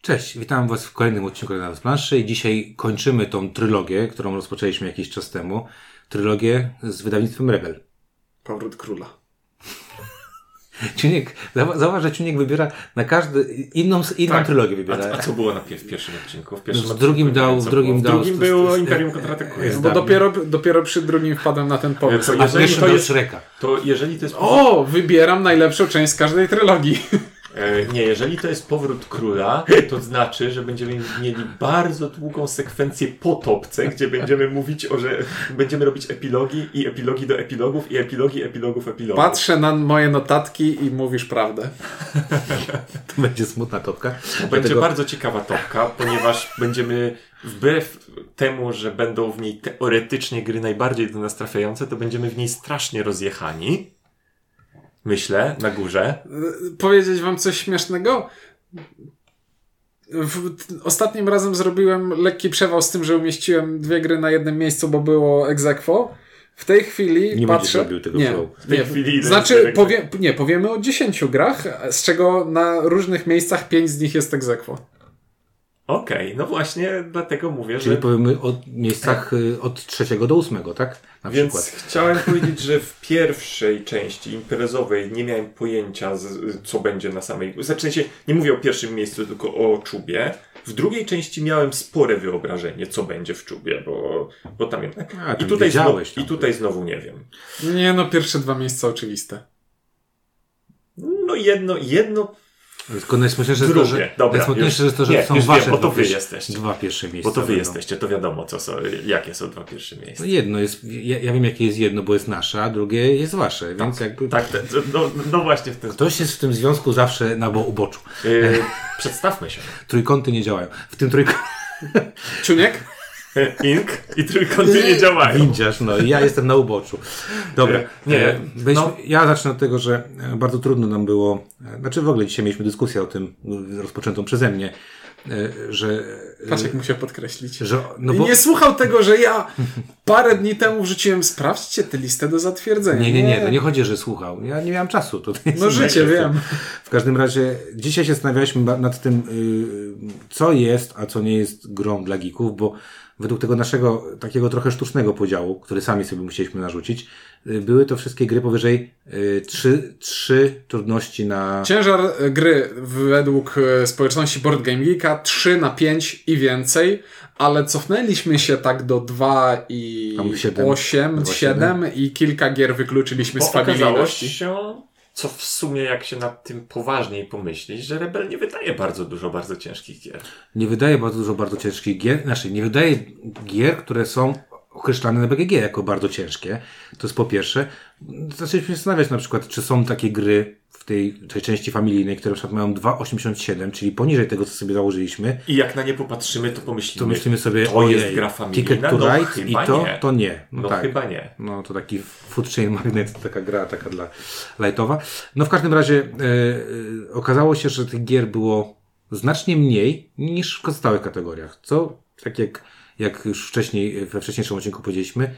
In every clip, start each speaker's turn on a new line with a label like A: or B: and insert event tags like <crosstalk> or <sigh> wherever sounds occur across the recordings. A: Cześć, witam Was w kolejnym odcinku Renata z Planszy i dzisiaj kończymy tą trylogię, którą rozpoczęliśmy jakiś czas temu. Trylogię z wydawnictwem Rebel. <laughs>
B: Powrót króla.
A: Ciuniek, zauwa- zauważ, że Ciuniek wybiera na każdy, inną, inną
C: Tak.
A: trylogię
C: A,
A: wybiera.
C: a co było na pi- w pierwszym odcinku? W, pierwszym
A: No, w drugim dał,
C: co
A: w drugim
C: było?
A: dał.
C: W drugim
A: z-
C: było
A: z-
C: Imperium kontratakuje.
A: z-
B: Bo
A: Dawno.
B: dopiero, dopiero przy drugim wpadłem na ten pomysł.
C: Co,
A: A
C: jeżeli
A: pierwszy
C: to
A: dał
C: jest...
A: Shreka. <laughs>
C: To jeżeli to jest...
B: O, wybieram najlepszą część z każdej trylogii.
C: E, nie, jeżeli to jest powrót króla, to znaczy, że będziemy mieli bardzo długą sekwencję po topce, gdzie będziemy mówić o, że będziemy robić epilogi i epilogi do epilogów i epilogi epilogów epilogów.
B: Patrzę na moje notatki i mówisz prawdę.
A: To będzie smutna topka.
C: Będzie
A: Dlatego-
C: bardzo ciekawa topka, ponieważ będziemy wbrew temu, że będą w niej teoretycznie gry najbardziej do nas trafiające, to będziemy w niej strasznie rozjechani. Myślę, na górze.
B: Y, Powiedzieć wam coś śmiesznego? W, t- ostatnim razem zrobiłem lekki przewał z tym, że umieściłem dwie gry na jednym miejscu, bo było ex aequo. W tej chwili
A: Nie będziesz
B: patrzę...
A: robił tego
B: nie,
A: przełu.
C: W tej
B: nie.
C: chwili ile jest
B: Znaczy,
C: gierek?
B: powie, nie, powiemy o 10 grach, z czego na różnych miejscach 5 z nich jest ex aequo.
C: Okej, no właśnie dlatego mówię,
A: Czyli
C: że...
A: powiemy o miejscach y, od trzeciego do ósmego, tak? Na
C: Więc
A: przykład.
C: chciałem powiedzieć, że w pierwszej części imprezowej nie miałem pojęcia, z, co będzie na samej. Znaczy, się, nie mówię o pierwszym miejscu, tylko o czubie. W drugiej części miałem spore wyobrażenie, co będzie w czubie, bo, bo tam jednak.
A: A,
C: I
A: tam
C: tutaj, znowu,
A: wiedziałeś tam.
C: I tutaj znowu nie wiem.
B: Nie no, pierwsze dwa miejsca oczywiste.
C: No jedno, jedno,
A: Tylko najsmutniejsze jest to,
C: Drugie.
A: że,
C: Dobra,
A: najsmutniejsze
C: już-
A: jest to, że
C: nie,
A: są
C: już
A: wasze
C: wiem, bo to
A: dwa
C: wy
A: pierwsze-
C: jesteście.
A: dwa pierwsze miejsca.
C: bo to wy
A: będą.
C: jesteście, to wiadomo, co są, jakie są dwa pierwsze
A: No
C: miejsca.
A: jedno jest, ja, ja wiem jakie jest jedno, bo jest nasze, a drugie jest wasze, więc jakby
C: Tak, te, no, no właśnie w ten
A: ktoś jest w tym związku zawsze na bo uboczu.
C: Yy, <laughs> przedstawmy się.
A: Trójkąty nie działają. W tym trójkącie <laughs>
B: Czuniek?
C: Ink i trójkąty nie działają.
A: windziarz, no i ja jestem na uboczu. Dobra,
C: Nie,
A: e, byliśmy,
C: no.
A: ja zacznę od tego, że e, bardzo trudno nam było, e, znaczy w ogóle dzisiaj mieliśmy dyskusję o tym, e, rozpoczętą przeze mnie, e, że... e,
B: Patrz, jak musiał podkreślić.
A: że no
B: I
A: bo,
B: nie słuchał tego, że ja parę dni temu wrzuciłem, sprawdźcie tę listę do zatwierdzenia.
A: nie, nie, nie, to nie chodzi, że słuchał. Ja nie miałem czasu. To to jest
B: No
A: inna
B: życie,
A: kwestia.
B: wiem.
A: W każdym razie dzisiaj się zastanawialiśmy ba- nad tym, y, co jest, a co nie jest grą dla geeków, bo według tego naszego takiego trochę sztucznego podziału, który sami sobie musieliśmy narzucić, y, były to wszystkie gry powyżej y, trzy, trzy trudności na...
B: Ciężar e, gry według e, społeczności Board Game Geeka 3 na 5 i więcej, ale cofnęliśmy się tak do 2 i
A: Tam siedem.
B: 8,
A: Dwa,
B: 7 i kilka gier wykluczyliśmy z
C: Bo okazało
B: familijności.
C: się, co w sumie jak się nad tym poważniej pomyślić, że Rebel nie wydaje bardzo dużo bardzo ciężkich gier.
A: Nie wydaje bardzo dużo bardzo ciężkich gier, znaczy nie wydaje gier, które są określane na BGG jako bardzo ciężkie. To jest po pierwsze. Zaczęliśmy się zastanawiać na przykład, czy są takie gry w tej, tej części familijnej, które na przykład mają 2,87, czyli poniżej tego, co sobie założyliśmy,
C: I jak na nie popatrzymy, to pomyślimy,
A: to myślimy sobie,
C: to
A: ojej,
C: jest gra
A: Ticket
C: familijna,
A: to
C: no
A: Ride i
C: chyba
A: to,
C: nie.
A: to nie. No,
C: No
A: tak.
C: chyba nie.
A: No to taki food chain magnet, to taka gra taka dla lightowa. No w każdym razie e, e, okazało się, że tych gier było znacznie mniej niż w pozostałych kategoriach, co tak jak, jak już wcześniej, we wcześniejszym odcinku powiedzieliśmy,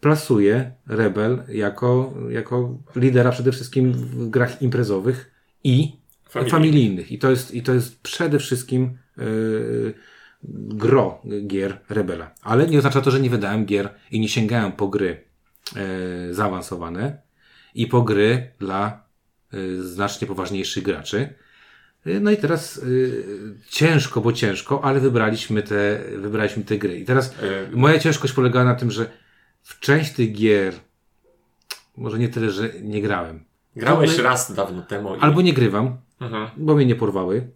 A: plasuje Rebel jako, jako lidera przede wszystkim w grach imprezowych i
C: Familijnych.
A: familijnych. I to jest, i to jest przede wszystkim yy, gro gier Rebela. Ale nie oznacza to, że nie wydałem gier i nie sięgałem po gry yy, zaawansowane i po gry dla yy, znacznie poważniejszych graczy. Yy, No i teraz yy, ciężko, bo ciężko, ale wybraliśmy te, wybraliśmy te gry. I teraz
C: Y,
A: moja ciężkość polegała na tym, że w część tych gier może nie tyle, że nie grałem.
C: Grałeś
A: my-
C: raz dawno temu i...
A: Albo nie grywam,
C: Mhm.
A: bo mnie nie porwały,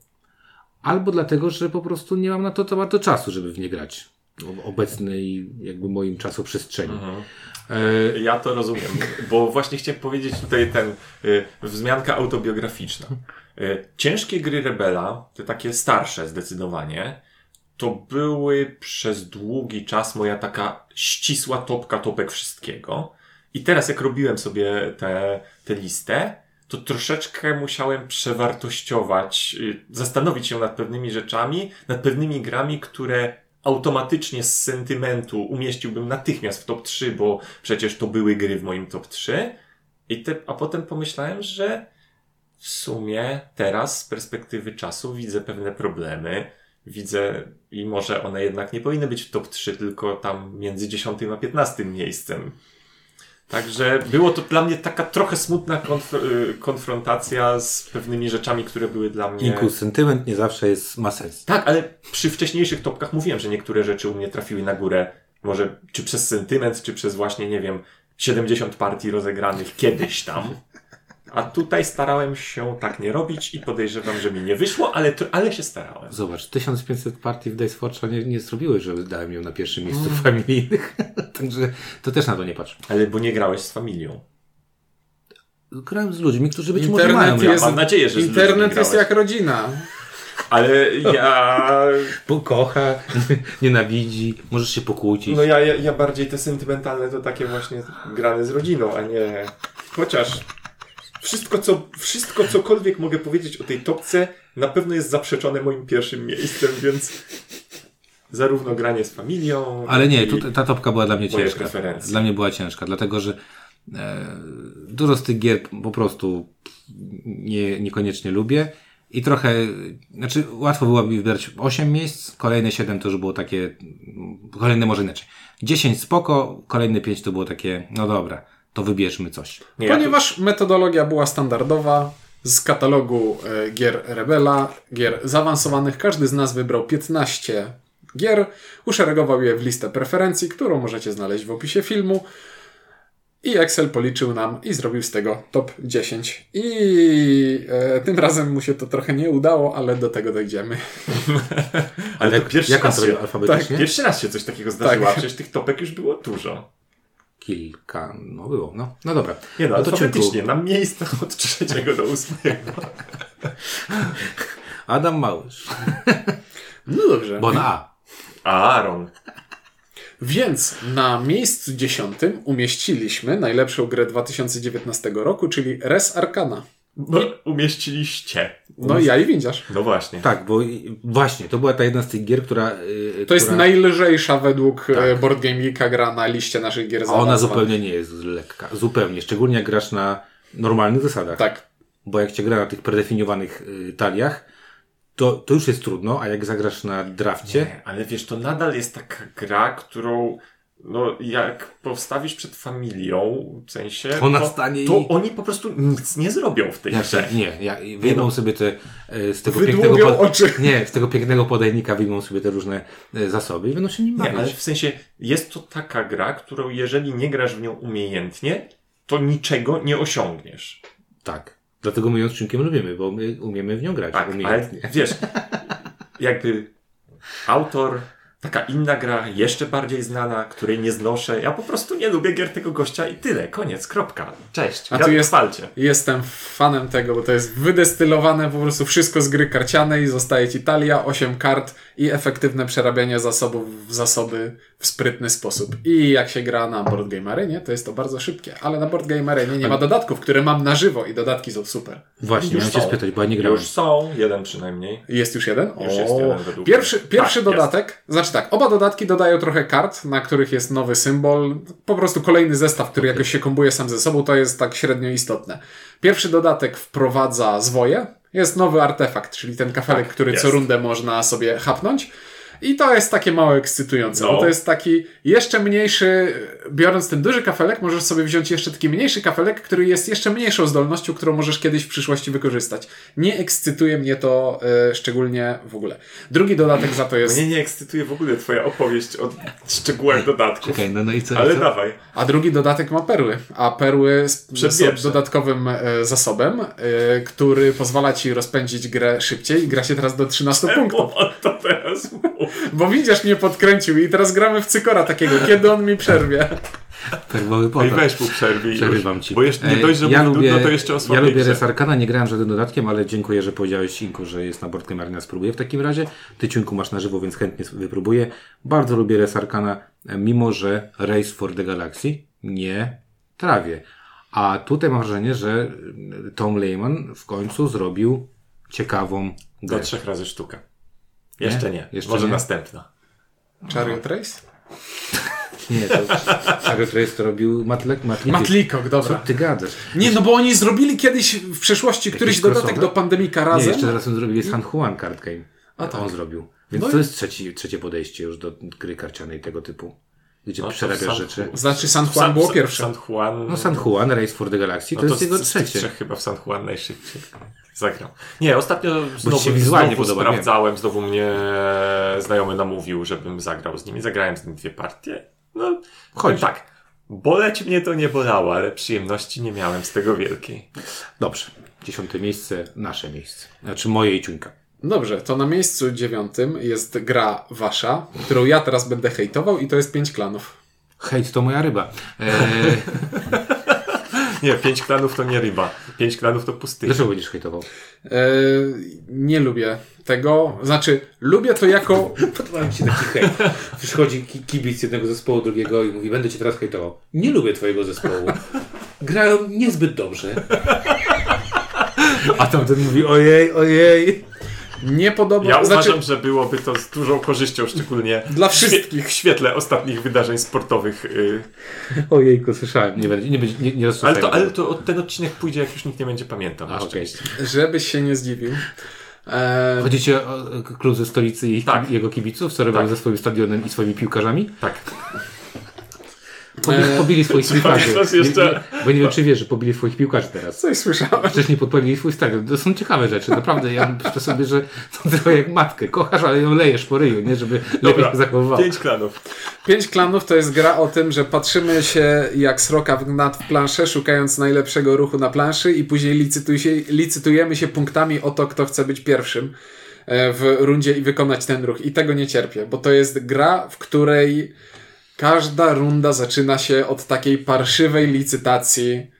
A: albo dlatego, że po prostu nie mam na to za bardzo czasu, żeby w nie grać. O- Obecnej, jakby moim czasoprzestrzeni.
C: Mhm.
A: E,
C: Ja to rozumiem, bo właśnie chciałem powiedzieć tutaj ten y, wzmianka autobiograficzna. Y, ciężkie gry Rebela, te takie starsze zdecydowanie, to były przez długi czas moja taka ścisła topka topek wszystkiego. I teraz jak robiłem sobie tę tę listę, to troszeczkę musiałem przewartościować, y, zastanowić się nad pewnymi rzeczami, nad pewnymi grami, które automatycznie z sentymentu umieściłbym natychmiast w top 3, bo przecież to były gry w moim top 3. I te, a potem pomyślałem, że w w sumie teraz z perspektywy czasu widzę pewne problemy. Widzę i może one jednak nie powinny być w top 3, tylko tam między 10 a 15 miejscem. Także było to dla mnie taka trochę smutna konf y, konfrontacja z pewnymi rzeczami, które były dla mnie.
A: Inku, sentyment nie zawsze jest, ma sens.
C: Tak, ale przy wcześniejszych topkach mówiłem, że niektóre rzeczy u mnie trafiły na górę. Może czy przez sentyment, czy przez właśnie, nie wiem, 70 partii rozegranych kiedyś tam. A tutaj starałem się tak nie robić i podejrzewam, że mi nie wyszło, ale, tr- ale się starałem.
A: Zobacz, 1500 partii w Dice Forge nie, nie zrobiłeś, że dałem ją na pierwszym miejscu w familijnych. <laughs> Także to też na to nie patrz.
C: Ale bo nie grałeś z familią.
A: Grałem z ludźmi, którzy być
B: Internet
A: może mają.
B: jest-
A: Jest...
C: Mam nadzieję, że z ludźmi
B: Internet jest
C: grałeś.
B: jak rodzina.
C: Ale ja...
A: Bo kocha, <laughs> nienawidzi, możesz się pokłócić.
C: No ja, ja, ja bardziej te sentymentalne to takie właśnie grane z rodziną, a nie... Chociaż wszystko, co, wszystko cokolwiek mogę powiedzieć o tej topce na pewno jest zaprzeczone moim pierwszym miejscem, więc zarówno granie z familią...
A: Ale nie,
C: i-
A: tu, ta topka była dla mnie
C: Moje
A: ciężka.
C: preferencje.
A: Dla mnie była ciężka, dlatego że e, dużo z tych gier po prostu nie, niekoniecznie lubię i trochę, znaczy łatwo było mi wybrać 8 miejsc, kolejne 7 to już było takie, mm, kolejne może inaczej. 10 spoko, kolejne 5 to było takie, no dobra, to wybierzmy coś.
C: Nie, ja tu-
B: Ponieważ metodologia była standardowa, z katalogu e, gier Rebela, gier zaawansowanych, każdy z nas wybrał 15 gier, uszeregował je w listę preferencji, którą możecie znaleźć w opisie filmu. I Excel policzył nam i zrobił z tego top 10. I e, tym razem mu się to trochę nie udało, ale do tego dojdziemy.
C: Ale to pierwszy
A: Jak on
C: raz,
A: zrobił
C: się, Tak,
A: alfabetycznie?
C: pierwszy raz się coś takiego zdarzyło,
B: Tak.
C: a przecież tych topek już było dużo.
A: Kilka, no było, no, no dobra.
C: Nie no,
A: no to
C: alfabetycznie,
A: cienko.
C: na miejscach od trzeciego do
A: <laughs>
C: ósmego.
A: Adam Małysz,
B: No dobrze.
A: bo na A.
C: Aaron.
B: Więc na miejscu 10 umieściliśmy najlepszą grę 2019 roku, czyli Res Arcana.
C: No, umieściliście.
B: No i ja i windziarz.
C: No właśnie.
A: Tak, bo i- właśnie, to była ta jedna z tych gier, która... y,
B: To
A: która...
B: jest najlżejsza według tak. Board Game Geeka gra na liście naszych gier
A: A ona
B: zaawansowanych.
A: zupełnie nie jest lekka. Zupełnie. Szczególnie jak grasz na normalnych zasadach.
B: Tak.
A: Bo jak cię gra na tych predefiniowanych y, taliach, to, to już jest trudno, a jak zagrasz na drafcie,
C: Nie, ale wiesz, to nadal jest taka gra, którą no, jak powstawisz przed familią, w sensie,
A: Ona
C: to,
A: stanie
C: to
A: i-
C: oni po prostu nic nie zrobią w tej
A: ja się,
C: grze.
A: nie, ja wyjmą
C: no.
A: sobie te y, z tego
B: Wydłubią
A: pięknego
B: oczy.
A: nie, z tego pięknego podajnika wyjmą sobie te różne y, zasoby i będą się nim
C: Nie, ale
A: bawić.
C: w sensie jest to taka gra, którą jeżeli nie grasz w nią umiejętnie, to niczego nie osiągniesz.
A: Tak. Dlatego my ją z Czynkiem lubimy, bo my umiemy w nią grać.
C: Tak, ale
A: umiejętnie.
C: wiesz, jakby autor, taka inna gra, jeszcze bardziej znana, której nie znoszę. Ja po prostu nie lubię gier tego gościa i tyle, koniec, kropka. Cześć,
B: A
C: gra
B: tu
C: w
B: jest-
C: palcie.
B: Jestem fanem tego, bo to jest wydestylowane po prostu wszystko z gry karcianej. Zostaje ci talia, 8 kart i efektywne przerabianie zasobów w zasoby w sprytny sposób. I jak się gra na Board Game Arenie, to jest to bardzo szybkie. Ale na Board Game Arenie nie ma dodatków, które mam na żywo i dodatki są super.
A: Właśnie, miałem cię spytać, bo ja nie grałem.
C: Już są, jeden przynajmniej.
B: Jest już jeden?
C: Już jest jeden według
B: Pierwszy,
C: mnie.
B: pierwszy
C: Tak,
B: dodatek, znaczy tak, oba dodatki dodają trochę kart, na których jest nowy symbol, po prostu kolejny zestaw, który jakoś się kombuje sam ze sobą, to jest tak średnio istotne. Pierwszy dodatek wprowadza zwoje, jest nowy artefakt, czyli ten kafelek, który co
C: Tak, jest.
B: rundę można sobie hapnąć. I to jest takie mało ekscytujące,
C: No.
B: bo to jest taki jeszcze mniejszy, biorąc ten duży kafelek, możesz sobie wziąć jeszcze taki mniejszy kafelek, który jest jeszcze mniejszą zdolnością, którą możesz kiedyś w przyszłości wykorzystać. Nie ekscytuje mnie to e, szczególnie w ogóle. Drugi dodatek za to jest
C: Mnie nie ekscytuje w ogóle twoja opowieść o szczegółach dodatków.
A: Czekaj, no, no i co? i
C: Ale
A: co?
C: dawaj.
B: A drugi dodatek ma perły, a perły z- są
C: Przedwieczne.
B: dodatkowym e, zasobem, e, który pozwala ci rozpędzić grę szybciej i gra się teraz do 13 punktów.
C: Bo on to teraz mówi.
B: Bo widzisz, mnie podkręcił i teraz gramy w cykora takiego, kiedy on mi przerwie.
A: Perłowy
C: Ej,
A: potok.
C: weź mu przerwij już,
A: Przerywam ci.
C: Bo jeszcze nie
A: E,
C: dość, że
A: ja
C: ja
A: lubię,
C: nudno, to jeszcze o
A: Ja
C: słabej
A: lubię
C: grze.
A: Resarkana, nie grałem żadnym dodatkiem, ale dziękuję, że powiedziałeś Inku, że jest na Boardgame Arena. Spróbuję w takim razie. Ty Ciunku masz na żywo, więc chętnie wypróbuję. Bardzo lubię Resarkana, e, mimo że Race for the Galaxy nie trawię. A tutaj mam wrażenie, że e, Tom Lehman w końcu zrobił ciekawą
C: Do
A: grę.
C: trzech razy sztuka. Jeszcze nie.
A: Jeszcze
C: Może
A: nie?
C: następna.
B: Chariot Race?
A: Nie, to
C: <laughs>
A: Shadow Trace to robił Matlek, Matlik.
B: Matlikok,
A: Co
B: dobra.
A: ty gadasz?
B: Nie, no bo oni zrobili kiedyś w przeszłości któryś dodatek
A: crossover?
B: do Pandemika
A: Nie,
B: razem.
A: jeszcze teraz on zrobił, jest San Juan Card Game.
B: A
A: A
B: tak.
A: to on zrobił. Więc
B: No
A: to
B: i-
A: jest trzeci, trzecie podejście już do gry karcianej tego typu, gdzie
C: No to
A: przerabiasz
C: San
A: rzeczy.
C: Juan.
B: Znaczy San Juan było pierwsze.
C: San Juan.
A: No San Juan, Race for the Galaxy,
C: No
A: to jest
C: z-
A: jego
C: z tych
A: trzecie.
C: trzech chyba w San Juan najszybciej zagram. Nie, ostatnio znowu,
A: się wizualnie
C: znowu
A: podoba, wiem.
C: sprawdzałem, znowu mnie znajomy namówił, żebym zagrał z nimi. Zagrałem z nim dwie partie. No,
A: Chodzi.
C: Chodź. tak. Boleć mnie to nie bolało, ale przyjemności nie miałem z tego wielkiej.
A: Dobrze. Dziesiąte miejsce, nasze miejsce. Znaczy moje i ciunka.
B: Dobrze, to na miejscu dziewiątym jest gra wasza, którą ja teraz będę hejtował i to jest pięć klanów.
A: Hejt to moja ryba. Eee,
C: Nie, pięć klanów to nie ryba. Pięć klanów to pustynia.
A: dlaczego będziesz hejtował?
B: Eee, nie lubię tego, znaczy lubię to
A: <laughs>
B: jako...
A: Podoba mi się taki hejt. <laughs> Przychodzi ki- kibic jednego zespołu drugiego i mówi, będę cię teraz hejtował. Nie lubię twojego zespołu. Grają niezbyt dobrze. A tamten mówi, ojej, ojej.
B: Nie podoba...
C: Ja
B: znaczy,
C: uważam, że byłoby to z dużą korzyścią, <laughs> szczególnie
B: Dla
C: w świe-
B: wszystkich.
C: w świetle ostatnich wydarzeń sportowych. y.
A: Ojejku, słyszałem. Nie, będzie- nie, będzie- nie, nie
C: Ale, to,
A: rozstrzygajmy.
C: ale to ten odcinek pójdzie, jak już nikt nie będzie pamiętał.
A: A,
C: na
A: okej.
C: szczęście.
B: żebyś się nie zdziwił. Eee,
A: Chodzicie o o e, klub ze stolicy i
C: Tak.
A: jego kibiców, co robią
C: Tak.
A: ze swoim stadionem i swoimi piłkarzami?
C: Tak.
A: Pobili, pobili
C: <laughs>
A: swoich piłkarzy.
C: pamiętasz
A: Nie-
C: E, jeszcze-
A: nie- Bo nie wiem, czy wiesz, że pobili swoich piłkarzy teraz.
B: coś słyszałem.
A: Wcześniej podpalili swój stadion. To są ciekawe rzeczy, naprawdę. Ja myślę sobie, że to <laughs> trochę jak matkę. Kochasz, ale ją lejesz po ryju, nie? Żeby lepiej się zachowywała.
C: pięć klanów.
B: Pięć klanów to jest gra o tym, że patrzymy się jak sroka w gnat w planszę, szukając najlepszego ruchu na planszy i później licytuj się, licytujemy się punktami o to, kto chce być pierwszym e, w rundzie i wykonać ten ruch. I tego nie cierpię, bo to jest gra, w której każda runda zaczyna się od takiej parszywej licytacji.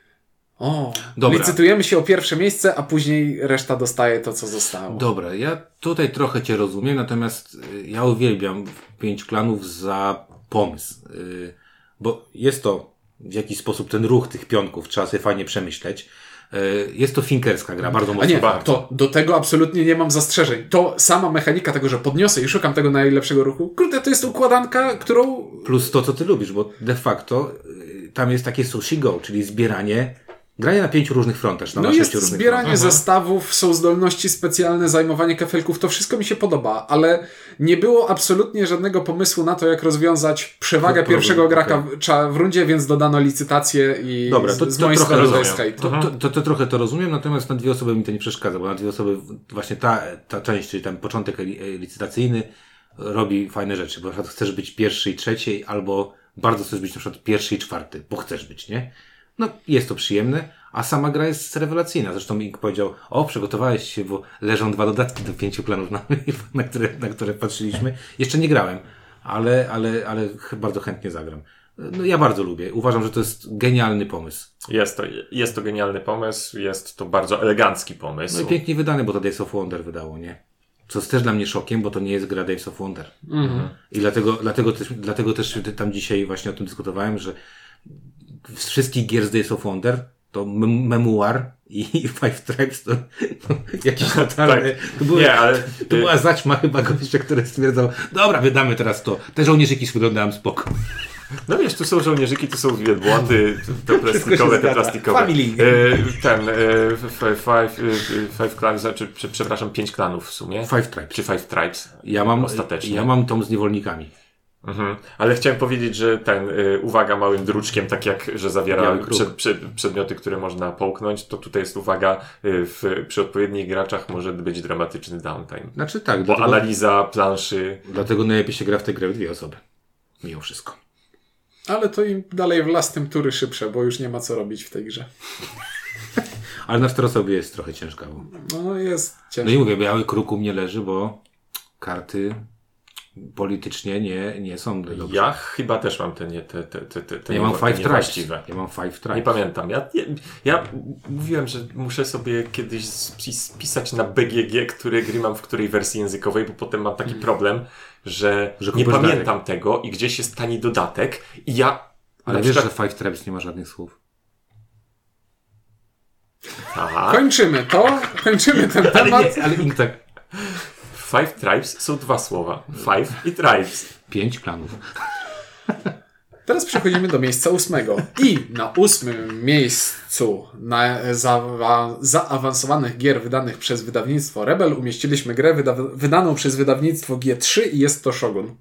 B: O,
A: Dobra.
B: licytujemy się o pierwsze miejsce, a później reszta dostaje to, co zostało.
A: Dobra, ja tutaj trochę Cię rozumiem, natomiast y, ja uwielbiam pięć klanów za pomysł. y, Bo jest to w jakiś sposób ten ruch tych pionków, trzeba sobie fajnie przemyśleć. Y, Jest to finkerska gra, bardzo
B: A
A: mocno.
B: nie,
C: bardzo.
B: to do tego absolutnie nie mam zastrzeżeń. To sama mechanika tego, że podniosę i szukam tego najlepszego ruchu. Kurde, to jest układanka, którą.
A: Plus to, co ty lubisz, bo de facto y, tam jest takie sushi go, czyli zbieranie, granie na pięciu różnych frontach, czy tam
B: No
A: na
B: jest
A: sześciu różnych
B: zbieranie
A: frontach.
B: zestawów, są zdolności specjalne, zajmowanie kafelków, to wszystko mi się podoba, ale nie było absolutnie żadnego pomysłu na to, jak rozwiązać przewagę
A: Problem,
B: pierwszego
A: okej.
B: gracza cza- w rundzie, więc dodano licytację i
A: Dobra,
B: z-
A: to-
B: z
A: to
B: mojej
A: trochę
B: strony to
C: rozumiem.
B: jest hejt.
A: To, to, to, to trochę to rozumiem, natomiast na dwie osoby mi to nie przeszkadza, bo na dwie osoby w- właśnie ta, ta część, czyli ten początek li- e, licytacyjny e, robi fajne rzeczy, bo na przykład chcesz być pierwszy i trzeci, albo bardzo chcesz być na przykład pierwszy i czwarty, bo chcesz być, nie? No, jest to przyjemne, a sama gra jest rewelacyjna. Zresztą Ink powiedział, o, przygotowałeś się, bo leżą dwa dodatki do pięciu planów, na, <laughs> na, które, na które patrzyliśmy. Jeszcze nie grałem, ale, ale, ale ch- bardzo chętnie zagram. No, ja bardzo lubię. Uważam, że to jest genialny pomysł.
C: Jest to, jest to genialny pomysł, jest to bardzo elegancki pomysł.
A: No i pięknie wydany, bo to Days of Wonder wydało, nie? Co jest też dla mnie szokiem, bo to nie jest gra Days of Wonder.
B: Mhm.
A: I dlatego, dlatego, też, dlatego też tam dzisiaj właśnie o tym dyskutowałem, że z wszystkich gier z Days of Wonder to mem- Memoir i <laughs> Five Tribes to no,
C: <laughs>
A: jakiś totalny... To, były,
C: Tak. Nie, ale
A: to
C: y,
A: była zaćma chyba gościa, który stwierdzał, dobra, wydamy teraz to. Te żołnierzyki wyglądają spoko.
C: no wiesz, tu są żołnierzyki, tu są wielbłądy, te
A: Wszystko się
C: plastikowe, te
A: zgadza.
C: plastikowe.
A: Family.
C: Y, ten, y, f- f- five, y, y, five clans, znaczy, prze- przepraszam, pięć klanów w sumie.
A: Five Tribes.
C: Czy Five Tribes?
A: Ja mam,
C: Ostatecznie.
A: ja mam tą z niewolnikami.
C: Mhm. Ale chciałem powiedzieć, że ten, y, uwaga małym druczkiem, tak jak, że zawiera
A: Biały kruk.
C: przed, przed, przedmioty, które można połknąć, to tutaj jest uwaga, y, w, przy odpowiednich graczach może być dramatyczny downtime.
A: Znaczy tak,
C: Bo
A: dlatego,
C: analiza planszy
A: dlatego najlepiej się gra w tę grę w dwie osoby. Mimo wszystko.
B: Ale to im dalej w las, tym tury szybsze, bo już nie ma co robić w tej grze.
A: Ale na cztery osoby jest trochę ciężka. Bo...
B: No jest
A: No
B: ciężko.
A: i mówię, biały kruk u mnie leży, bo karty politycznie nie, nie są dobrze.
C: Ja chyba też mam te, nie, te, te, te, te, te
A: Ja mam
C: nie-
A: five tribes.
C: niewłaściwe.
A: Ja mam five
C: Nie
A: tribes.
C: pamiętam. Ja, ja, ja mówiłem, że muszę sobie kiedyś spis- spisać na BGG, które gry mam w której wersji językowej, bo potem mam taki problem, że,
A: Mhm. Że
C: nie
A: kupisz
C: pamiętam tego i gdzieś jest tani dodatek i ja
A: Ale
C: na
A: wiesz, że
C: przykład-
A: five tribes nie ma żadnych słów.
C: Tak,
B: Kończymy to, kończymy ten
A: Ale
B: temat.
A: nie, ale im tak.
C: Five Tribes są dwa słowa. Five i Tribes.
A: Pięć klanów.
B: Teraz przechodzimy do miejsca ósmego. I na ósmym miejscu na zaawa- zaawansowanych gier wydanych przez wydawnictwo Rebel umieściliśmy grę wyda- wydaną przez wydawnictwo G3 i jest to Shogun.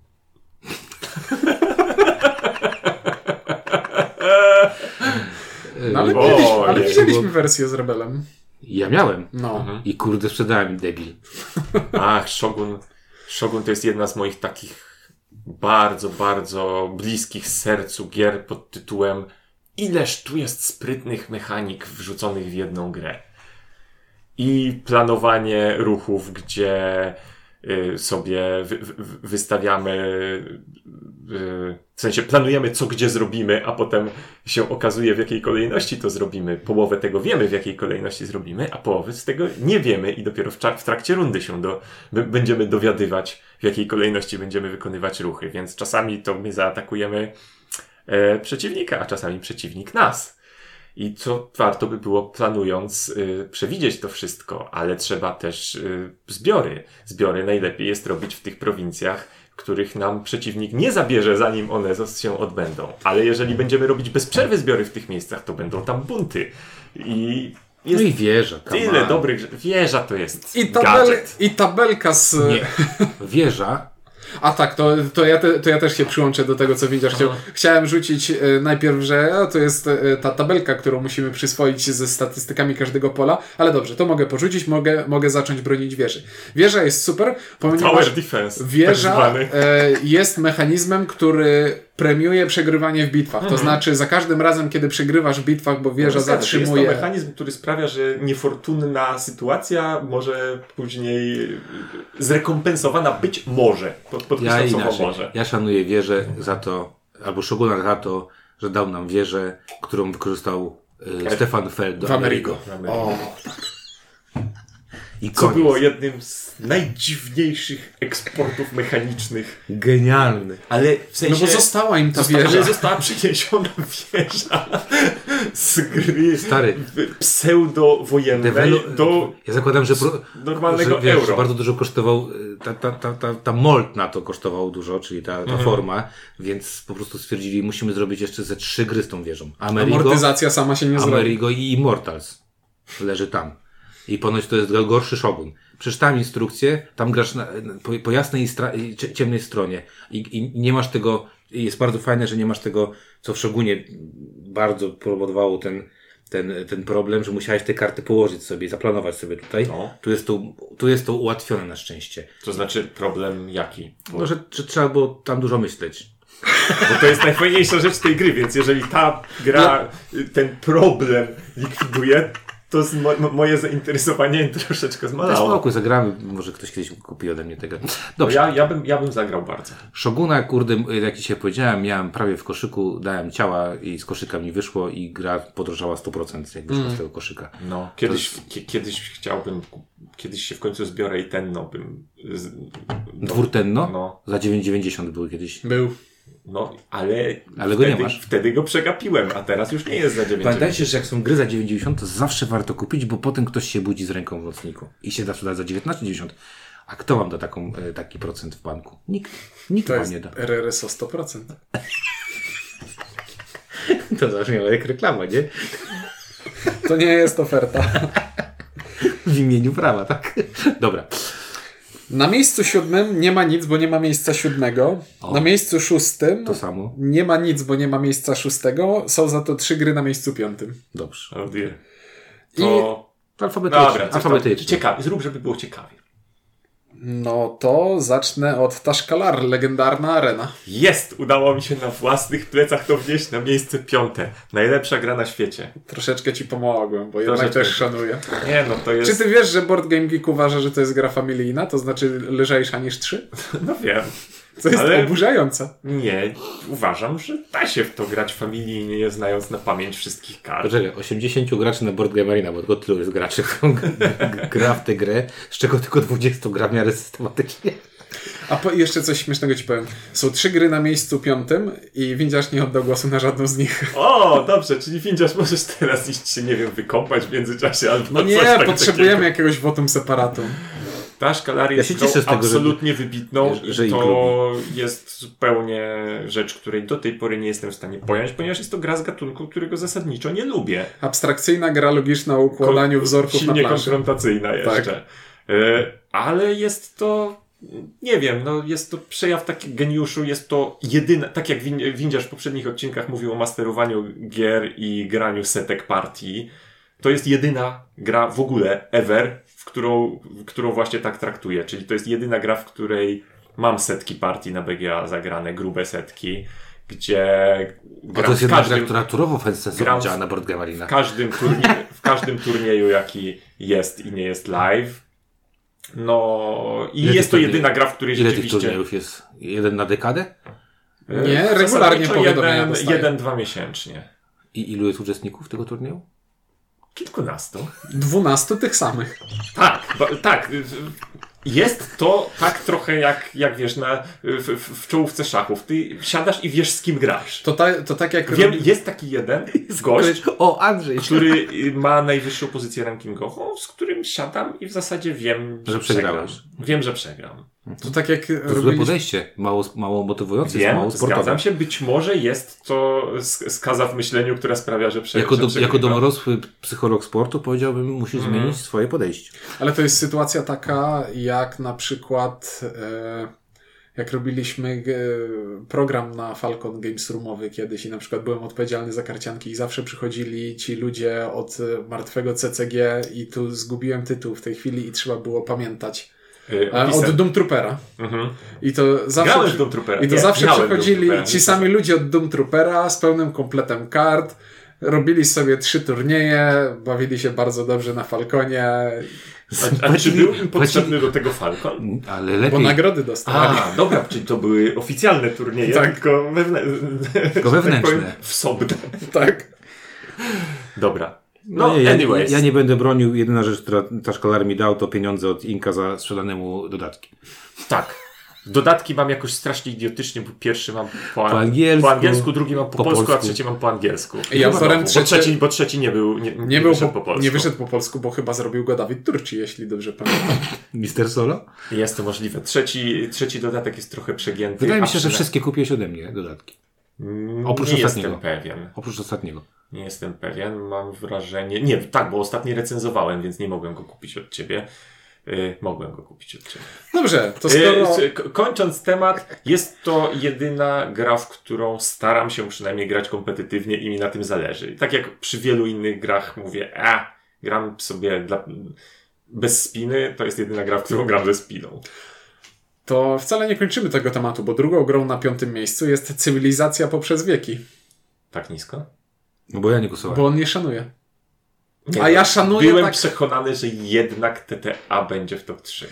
B: No, ale,
C: Ojej.
B: widzieliśmy, ale widzieliśmy wersję z Rebelem.
A: Yy, Ja miałem.
B: No.
A: I kurde, sprzedałem debil. No
C: Ach, Shogun. Shogun to jest jedna z moich takich bardzo, bardzo bliskich sercu gier pod tytułem Ileż tu jest sprytnych mechanik wrzuconych w jedną grę. I planowanie ruchów, gdzie y, sobie wy, wy, wy- wystawiamy, y, w sensie planujemy, co gdzie zrobimy, a potem się okazuje, w jakiej kolejności to zrobimy. Połowę tego wiemy, w jakiej kolejności zrobimy, a połowy z tego nie wiemy i dopiero w, cza- w trakcie rundy się do, b- będziemy dowiadywać, w jakiej kolejności będziemy wykonywać ruchy. Więc czasami to my zaatakujemy e, przeciwnika, a czasami przeciwnik nas. I co warto by było planując y, przewidzieć to wszystko, ale trzeba też y, zbiory. Zbiory najlepiej jest robić w tych prowincjach, których nam przeciwnik nie zabierze, zanim one zos- się odbędą. Ale jeżeli będziemy robić bez przerwy zbiory w tych miejscach, to będą tam bunty. I
A: No
C: jest
A: i wieża. come
C: tyle
A: on.
C: dobrych... rze- Wieża to jest
B: I, tabel,
C: gadżet.
B: I tabelka z...
A: Nie. Wieża.
B: A tak, to, to, ja te, to ja też się przyłączę do tego, co Windziarz chciał. Chciałem rzucić e, najpierw, że a, to jest e, ta tabelka, którą musimy przyswoić ze statystykami każdego pola, ale dobrze, to mogę porzucić, mogę, mogę zacząć bronić wieży. Wieża jest super, ponieważ
C: Tower defense. Tak
B: wieża
C: zwany.
B: e, jest mechanizmem, który premiuje przegrywanie w bitwach. To znaczy za każdym razem, kiedy przegrywasz w bitwach, bo wieża
C: Mhm. No, Zgadza się. Jest to
B: zatrzymuje...
C: mechanizm, który sprawia, że niefortunna sytuacja może później y, zrekompensowana być może. Pod,
A: Ja
C: podkreślam słowo
A: inaczej.
C: może.
A: Ja szanuję wieżę za to, albo Shoguna za to, że dał nam wieżę, którą wykorzystał y, Stefan Feld do
B: W Amerigo.
C: Amerigo.
B: O,
A: I
C: Co
A: koniec.
C: było jednym z najdziwniejszych eksportów mechanicznych.
A: Genialny.
C: Ale w
B: no
C: sensie...
B: bo została im ta
C: Zosta-
B: wieża.
C: Ale została przyniesiona wieża z gry
A: Stary.
C: w- pseudowojennej
A: Dewelu-
C: do
A: Ja zakładam, że, pro...
C: normalnego
A: że, wiesz,
C: euro.
A: że bardzo dużo kosztował, y, ta, ta, ta, ta, ta molt na to kosztował dużo, czyli ta, ta forma, więc po prostu stwierdzili, musimy zrobić jeszcze ze trzy gry z tą wieżą. Amerigo,
B: Amortyzacja sama się nie zrobi.
A: Amerigo i Immortals leży tam. I ponoć to jest gorszy szogun. Przeczytałem instrukcję, tam grasz na, po, po jasnej i stra- i cie- ciemnej stronie I, i nie masz tego, i jest bardzo fajne, że nie masz tego, co w szogunie bardzo powodowało ten, ten, ten problem, że musiałeś te karty położyć sobie, zaplanować sobie tutaj.
C: No.
A: Tu, jest to, tu jest to ułatwione na szczęście.
C: To znaczy problem jaki?
A: No, że, że trzeba było tam dużo myśleć.
C: Bo to jest najfajniejsza rzecz tej gry, więc jeżeli ta gra y, ten problem likwiduje, to z mo- mo- moje zainteresowanie <laughs> troszeczkę
A: Na
C: zmalało. No,
A: spokój, zagramy, może ktoś kiedyś kupi ode mnie tego. Dobrze.
C: Ja, ja, bym, ja bym zagrał bardzo.
A: Szoguna, kurde, jak dzisiaj powiedziałem, miałem prawie w koszyku, dałem ciała i z koszyka mi wyszło i gra podrożała 100% jak wyszła z tego koszyka.
C: No, kiedyś, ki- kiedyś chciałbym, ku- kiedyś się w końcu zbiorę i ten no bym... Z, no,
A: Dwurtenno
C: No.
A: za 9,90 był kiedyś.
B: Był.
C: no, ale,
A: Ale go
C: wtedy,
A: nie masz.
C: wtedy go przegapiłem, a teraz już nie jest za 9.
A: Pamiętajcie, że jak są gry za 90, to zawsze warto kupić, bo potem ktoś się budzi z ręką w nocniku i się zawsze da za 19,90. A kto wam da taką, e, taki procent w banku? Nikt. Nikt
B: To
A: wam
B: jest <laughs>
A: nie da.
B: RRSO 100%.
A: To zabrzmiało jak reklama, nie?
B: To nie jest oferta.
A: W imieniu prawa, tak? Dobra.
B: Na miejscu siódmym nie ma nic, bo nie ma miejsca siódmego. Na miejscu szóstym
A: To samo.
B: nie ma nic, bo nie ma miejsca szóstego. Są za to trzy gry na miejscu piątym.
A: Dobrze.
C: Oh dear.
B: I
C: To...
A: Alfabetycznie.
C: Dobra, coś tam,
A: alfabetycznie.
C: ciekawie, zrób, żeby było ciekawie.
B: no to zacznę od Tashkalar, legendarna arena.
C: Jest! Udało mi się na własnych plecach to wnieść na miejsce piąte. Najlepsza gra na świecie.
B: Troszeczkę ci pomogłem, bo jednak
C: Troszeczkę.
B: też szanuję.
C: Nie, no to jest...
B: Czy ty wiesz, że Board Game Geek uważa, że to jest gra familijna, to znaczy lżejsza niż trzy?
C: No wiem.
B: Co jest
C: Ale-
B: oburzające.
C: Nie, uważam, że da się w to grać familijnie, nie znając na pamięć wszystkich kart.
A: Poczekaj, 80 graczy na Board Game Arena, bo tylko tylu jest graczy, <laughs> którą g- g- gra w tę grę, z czego tylko 20 gra w miarę systematycznie.
B: A po, jeszcze coś śmiesznego ci powiem. Są trzy gry na miejscu piątym i Windziarz nie oddał głosu na żadną z nich.
C: O, dobrze, czyli Findziarz możesz teraz iść się, nie wiem, wykąpać w międzyczasie albo
B: No nie,
C: coś tak
B: potrzebujemy
C: takiego.
B: jakiegoś wotum separatum.
C: Ta szkalaria
A: Ja się
C: jest grą
A: cieszę z tego, że-
C: absolutnie wybitną
A: że-
C: i
A: że ich
C: to jest zupełnie rzecz, której do tej pory nie jestem w stanie pojąć, ponieważ jest to gra z gatunku, którego zasadniczo nie lubię.
B: Abstrakcyjna gra logiczna o układaniu
C: Kon-
B: wzorków na
C: silnie
B: planszy. Tak.
C: konfrontacyjna jeszcze. Y, Ale jest to, nie wiem, no jest to przejaw takiego geniuszu, jest to jedyna, tak jak Win- Windziarz w poprzednich odcinkach mówił o masterowaniu gier i graniu setek partii, to jest jedyna gra w ogóle, ever, w którą, w którą właśnie tak traktuję, czyli to jest jedyna gra, w której mam setki partii na BGA zagrane, grube setki, gdzie
A: Bo
C: gra
A: to jest
C: w
A: jedna
C: każdym...
A: gra, która turowo
C: gram
A: sensownie
C: w-
A: działa na board
C: w
A: gamelinach.
C: każdym, turnie- w każdym turnieju, jaki jest i nie jest live. No i
A: Ile tych
C: jest to
A: turniejów?
C: jedyna gra, w której
A: Ile tych
C: rzeczywiście...
A: turniejów jest? Jeden na dekadę?
C: e,
B: Nie,
C: zasadniczo
B: regularnie powiadomienia
C: jeden,
B: dostaję.
C: jeden, dwa miesięcznie.
A: I ilu jest uczestników tego turnieju?
C: Kilkunastu.
B: Dwunastu tych samych.
C: Tak, ba, tak. y, y, Jest to tak trochę jak, jak wiesz, na, y, w, w, w czołówce szachów. Ty siadasz i wiesz, z kim grasz.
B: To, ta, to tak jak...
C: Wiem, jest taki
B: <laughs>
C: jeden gość,
A: O, Andrzej!
C: który y, ma najwyższą pozycję rankingową, z którym siadam i w zasadzie wiem,
A: Że
C: że
A: przegrałeś.
C: przegram. Wiem, że przegram.
B: To tak jak
A: To złe
B: robiliśmy...
A: podejście. Mało, mało motywujące, jest mało
C: Wiem,
A: sportowe.
C: zgadzam się. Być może jest to sk- skaza w myśleniu, która sprawia, że prze,
A: Jako,
C: że
A: do,
C: przegrywam.
A: jako dorosły psycholog sportu powiedziałbym, musisz
C: Mhm.
A: zmienić swoje podejście.
B: Ale to jest sytuacja taka, jak na przykład e, jak robiliśmy e, program na Falcon Games Roomowy kiedyś i na przykład byłem odpowiedzialny za karcianki i zawsze przychodzili ci ludzie od e, martwego CCG i tu zgubiłem tytuł w tej chwili i trzeba było pamiętać.
C: Y,
B: E,
C: opisem.
B: Od Doom Troopera.
C: Mhm.
B: I to zawsze...
C: Grałem w Doom Troopera.
B: I to
C: Nie,
B: zawsze
C: grałem w Doom
B: przychodzili
C: Troopera,
B: ci
C: nie
B: sami ludzie od Doom Troopera z pełnym kompletem kart, robili sobie trzy turnieje, bawili się bardzo dobrze na Falconie,
C: A, a czy był im potrzebny do tego Falcon?
A: Ale
B: bo
A: lepiej,
B: nagrody dostawali.
C: A, dobra, czyli to były oficjalne turnieje,
B: Tak.
C: tylko, wewnę... <laughs> tak tylko
A: wewnętrzne.
C: wsobne.
B: Tak.
C: Dobra. No,
A: No, nie,
C: anyways.
A: Ja, ja nie będę bronił. Jedyna rzecz, która ta szkolar mi dał, to pieniądze od Inka za sprzedanemu dodatki.
C: Tak. Dodatki mam jakoś strasznie idiotycznie, bo pierwszy mam po,
A: Po angielsku.
C: po angielsku, drugi mam po,
A: Po
C: polsku,
A: polsku.
C: a trzeci mam po angielsku.
B: I autorem
C: Bo
B: trzeci-
C: trzeci, bo trzeci nie był, nie,
B: Nie, był
C: wyszedł
B: po,
C: po polsku.
B: nie wyszedł po polsku, bo chyba zrobił go Dawid Turci, jeśli dobrze pamiętam.
A: Mister Solo?
C: Jest to możliwe. Trzeci, trzeci dodatek jest trochę przegięty.
A: Wydaje mi
C: a
A: się, że
C: przyna-
A: wszystkie kupiłeś ode mnie dodatki.
C: Mm,
A: oprócz
C: nie
A: ostatniego.
C: jestem pewien.
A: Oprócz ostatniego.
C: Nie jestem pewien. Mam wrażenie. Nie, tak, bo ostatni recenzowałem, więc nie mogłem go kupić od ciebie. Y, mogłem go kupić od ciebie.
B: Dobrze, to
C: Y,
B: skoro...
C: s- k- kończąc temat, jest to jedyna gra, w którą staram się przynajmniej grać kompetytywnie i mi na tym zależy. I Tak jak przy wielu innych grach mówię, a gram sobie dla... bez spiny, to jest jedyna gra, w którą gram ze spiną.
B: To wcale nie kończymy tego tematu, bo drugą grą na piątym miejscu jest Cywilizacja poprzez wieki,
C: Tak nisko?
A: No bo ja nie głosowałem.
B: bo on nie szanuje.
C: Nie,
B: A ja szanuję
C: Byłem
B: tak...
C: przekonany, że jednak TTA będzie w top 3.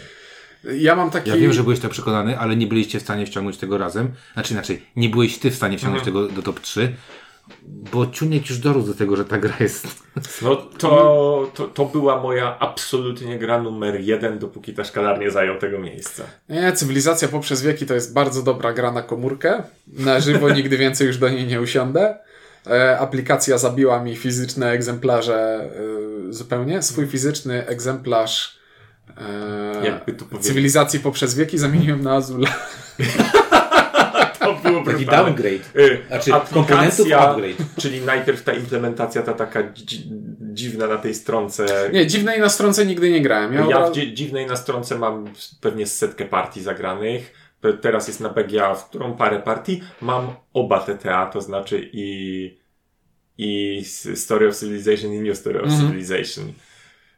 B: Ja mam taki...
A: Ja wiem, że byłeś tak przekonany, ale nie byliście w stanie wciągnąć tego razem. Znaczy inaczej, nie byłeś ty w stanie wciągnąć tego do top 3, bo Ciuniek już dorósł do tego, że ta gra jest.
C: No to, to, to była moja absolutnie gra numer jeden, dopóki ta szkalar nie zajął tego miejsca.
B: Nie, Cywilizacja poprzez wieki to jest bardzo dobra gra na komórkę. Na żywo nigdy więcej już do niej nie usiądę. E, aplikacja zabiła mi fizyczne egzemplarze e, zupełnie. Swój fizyczny egzemplarz e,
C: Jakby to powiedzieć.
B: Cywilizacji poprzez wieki zamieniłem na Azul.
C: To było brutalne. Y,
A: Znaczy,
C: aplikacja, Czyli najpierw ta implementacja, ta taka dzi- dziwna na tej stronce.
B: Nie, dziwnej na stronce nigdy nie grałem. Ja,
C: Ja
B: obra-
C: w dzi- dziwnej na stronce mam pewnie setkę partii zagranych. Pe- Teraz jest na BGA, w którą parę partii. Mam oba TTA, to znaczy i, i s- Story of Civilization i New Story of
B: Mhm.
C: Civilization.